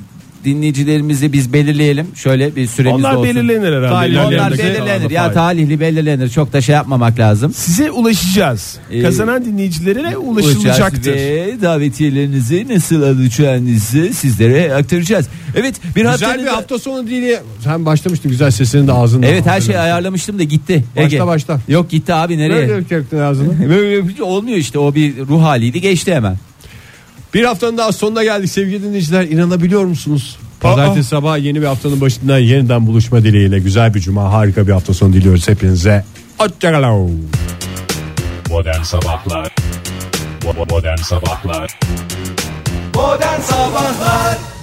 Speaker 3: dinleyicilerimizi biz belirleyelim. Şöyle bir süremiz
Speaker 4: onlar
Speaker 3: olsun.
Speaker 4: belirlenir herhalde.
Speaker 2: Talih-
Speaker 4: İlerleyen
Speaker 3: Onlar
Speaker 4: dakikalarda
Speaker 3: belirlenir
Speaker 4: falan.
Speaker 3: ya talihli belirlenir çok da şey yapmamak lazım.
Speaker 4: Size ulaşacağız.
Speaker 3: Ee,
Speaker 4: Kazanan dinleyicilere
Speaker 3: Uçacağız
Speaker 4: ulaşılacaktır.
Speaker 3: Ve davetiyelerinizi nasıl alacağınızı sizlere aktaracağız. Evet bir
Speaker 2: Güzel
Speaker 3: haftanın
Speaker 2: bir
Speaker 3: da-
Speaker 2: hafta sonu değil. Sen başlamıştın güzel sesini de ağzında.
Speaker 3: Evet her şey şeyi ayarlamıştım da gitti.
Speaker 2: Başla, başla.
Speaker 3: Yok gitti abi
Speaker 2: Böyle
Speaker 3: nereye?
Speaker 2: yapacaktın ağzını.
Speaker 3: Böyle yapınca olmuyor işte o bir ruh haliydi geçti hemen.
Speaker 2: Bir haftanın daha sonuna geldik sevgili dinleyiciler. İnanabiliyor musunuz? Pazartesi sabah yeni bir haftanın başından yeniden buluşma dileğiyle güzel bir cuma, harika bir hafta sonu diliyoruz hepinize. Hoşçakalın.
Speaker 10: Modern Sabahlar Bo- bo- Modern Sabahlar
Speaker 1: Oh, Modern Sabahlar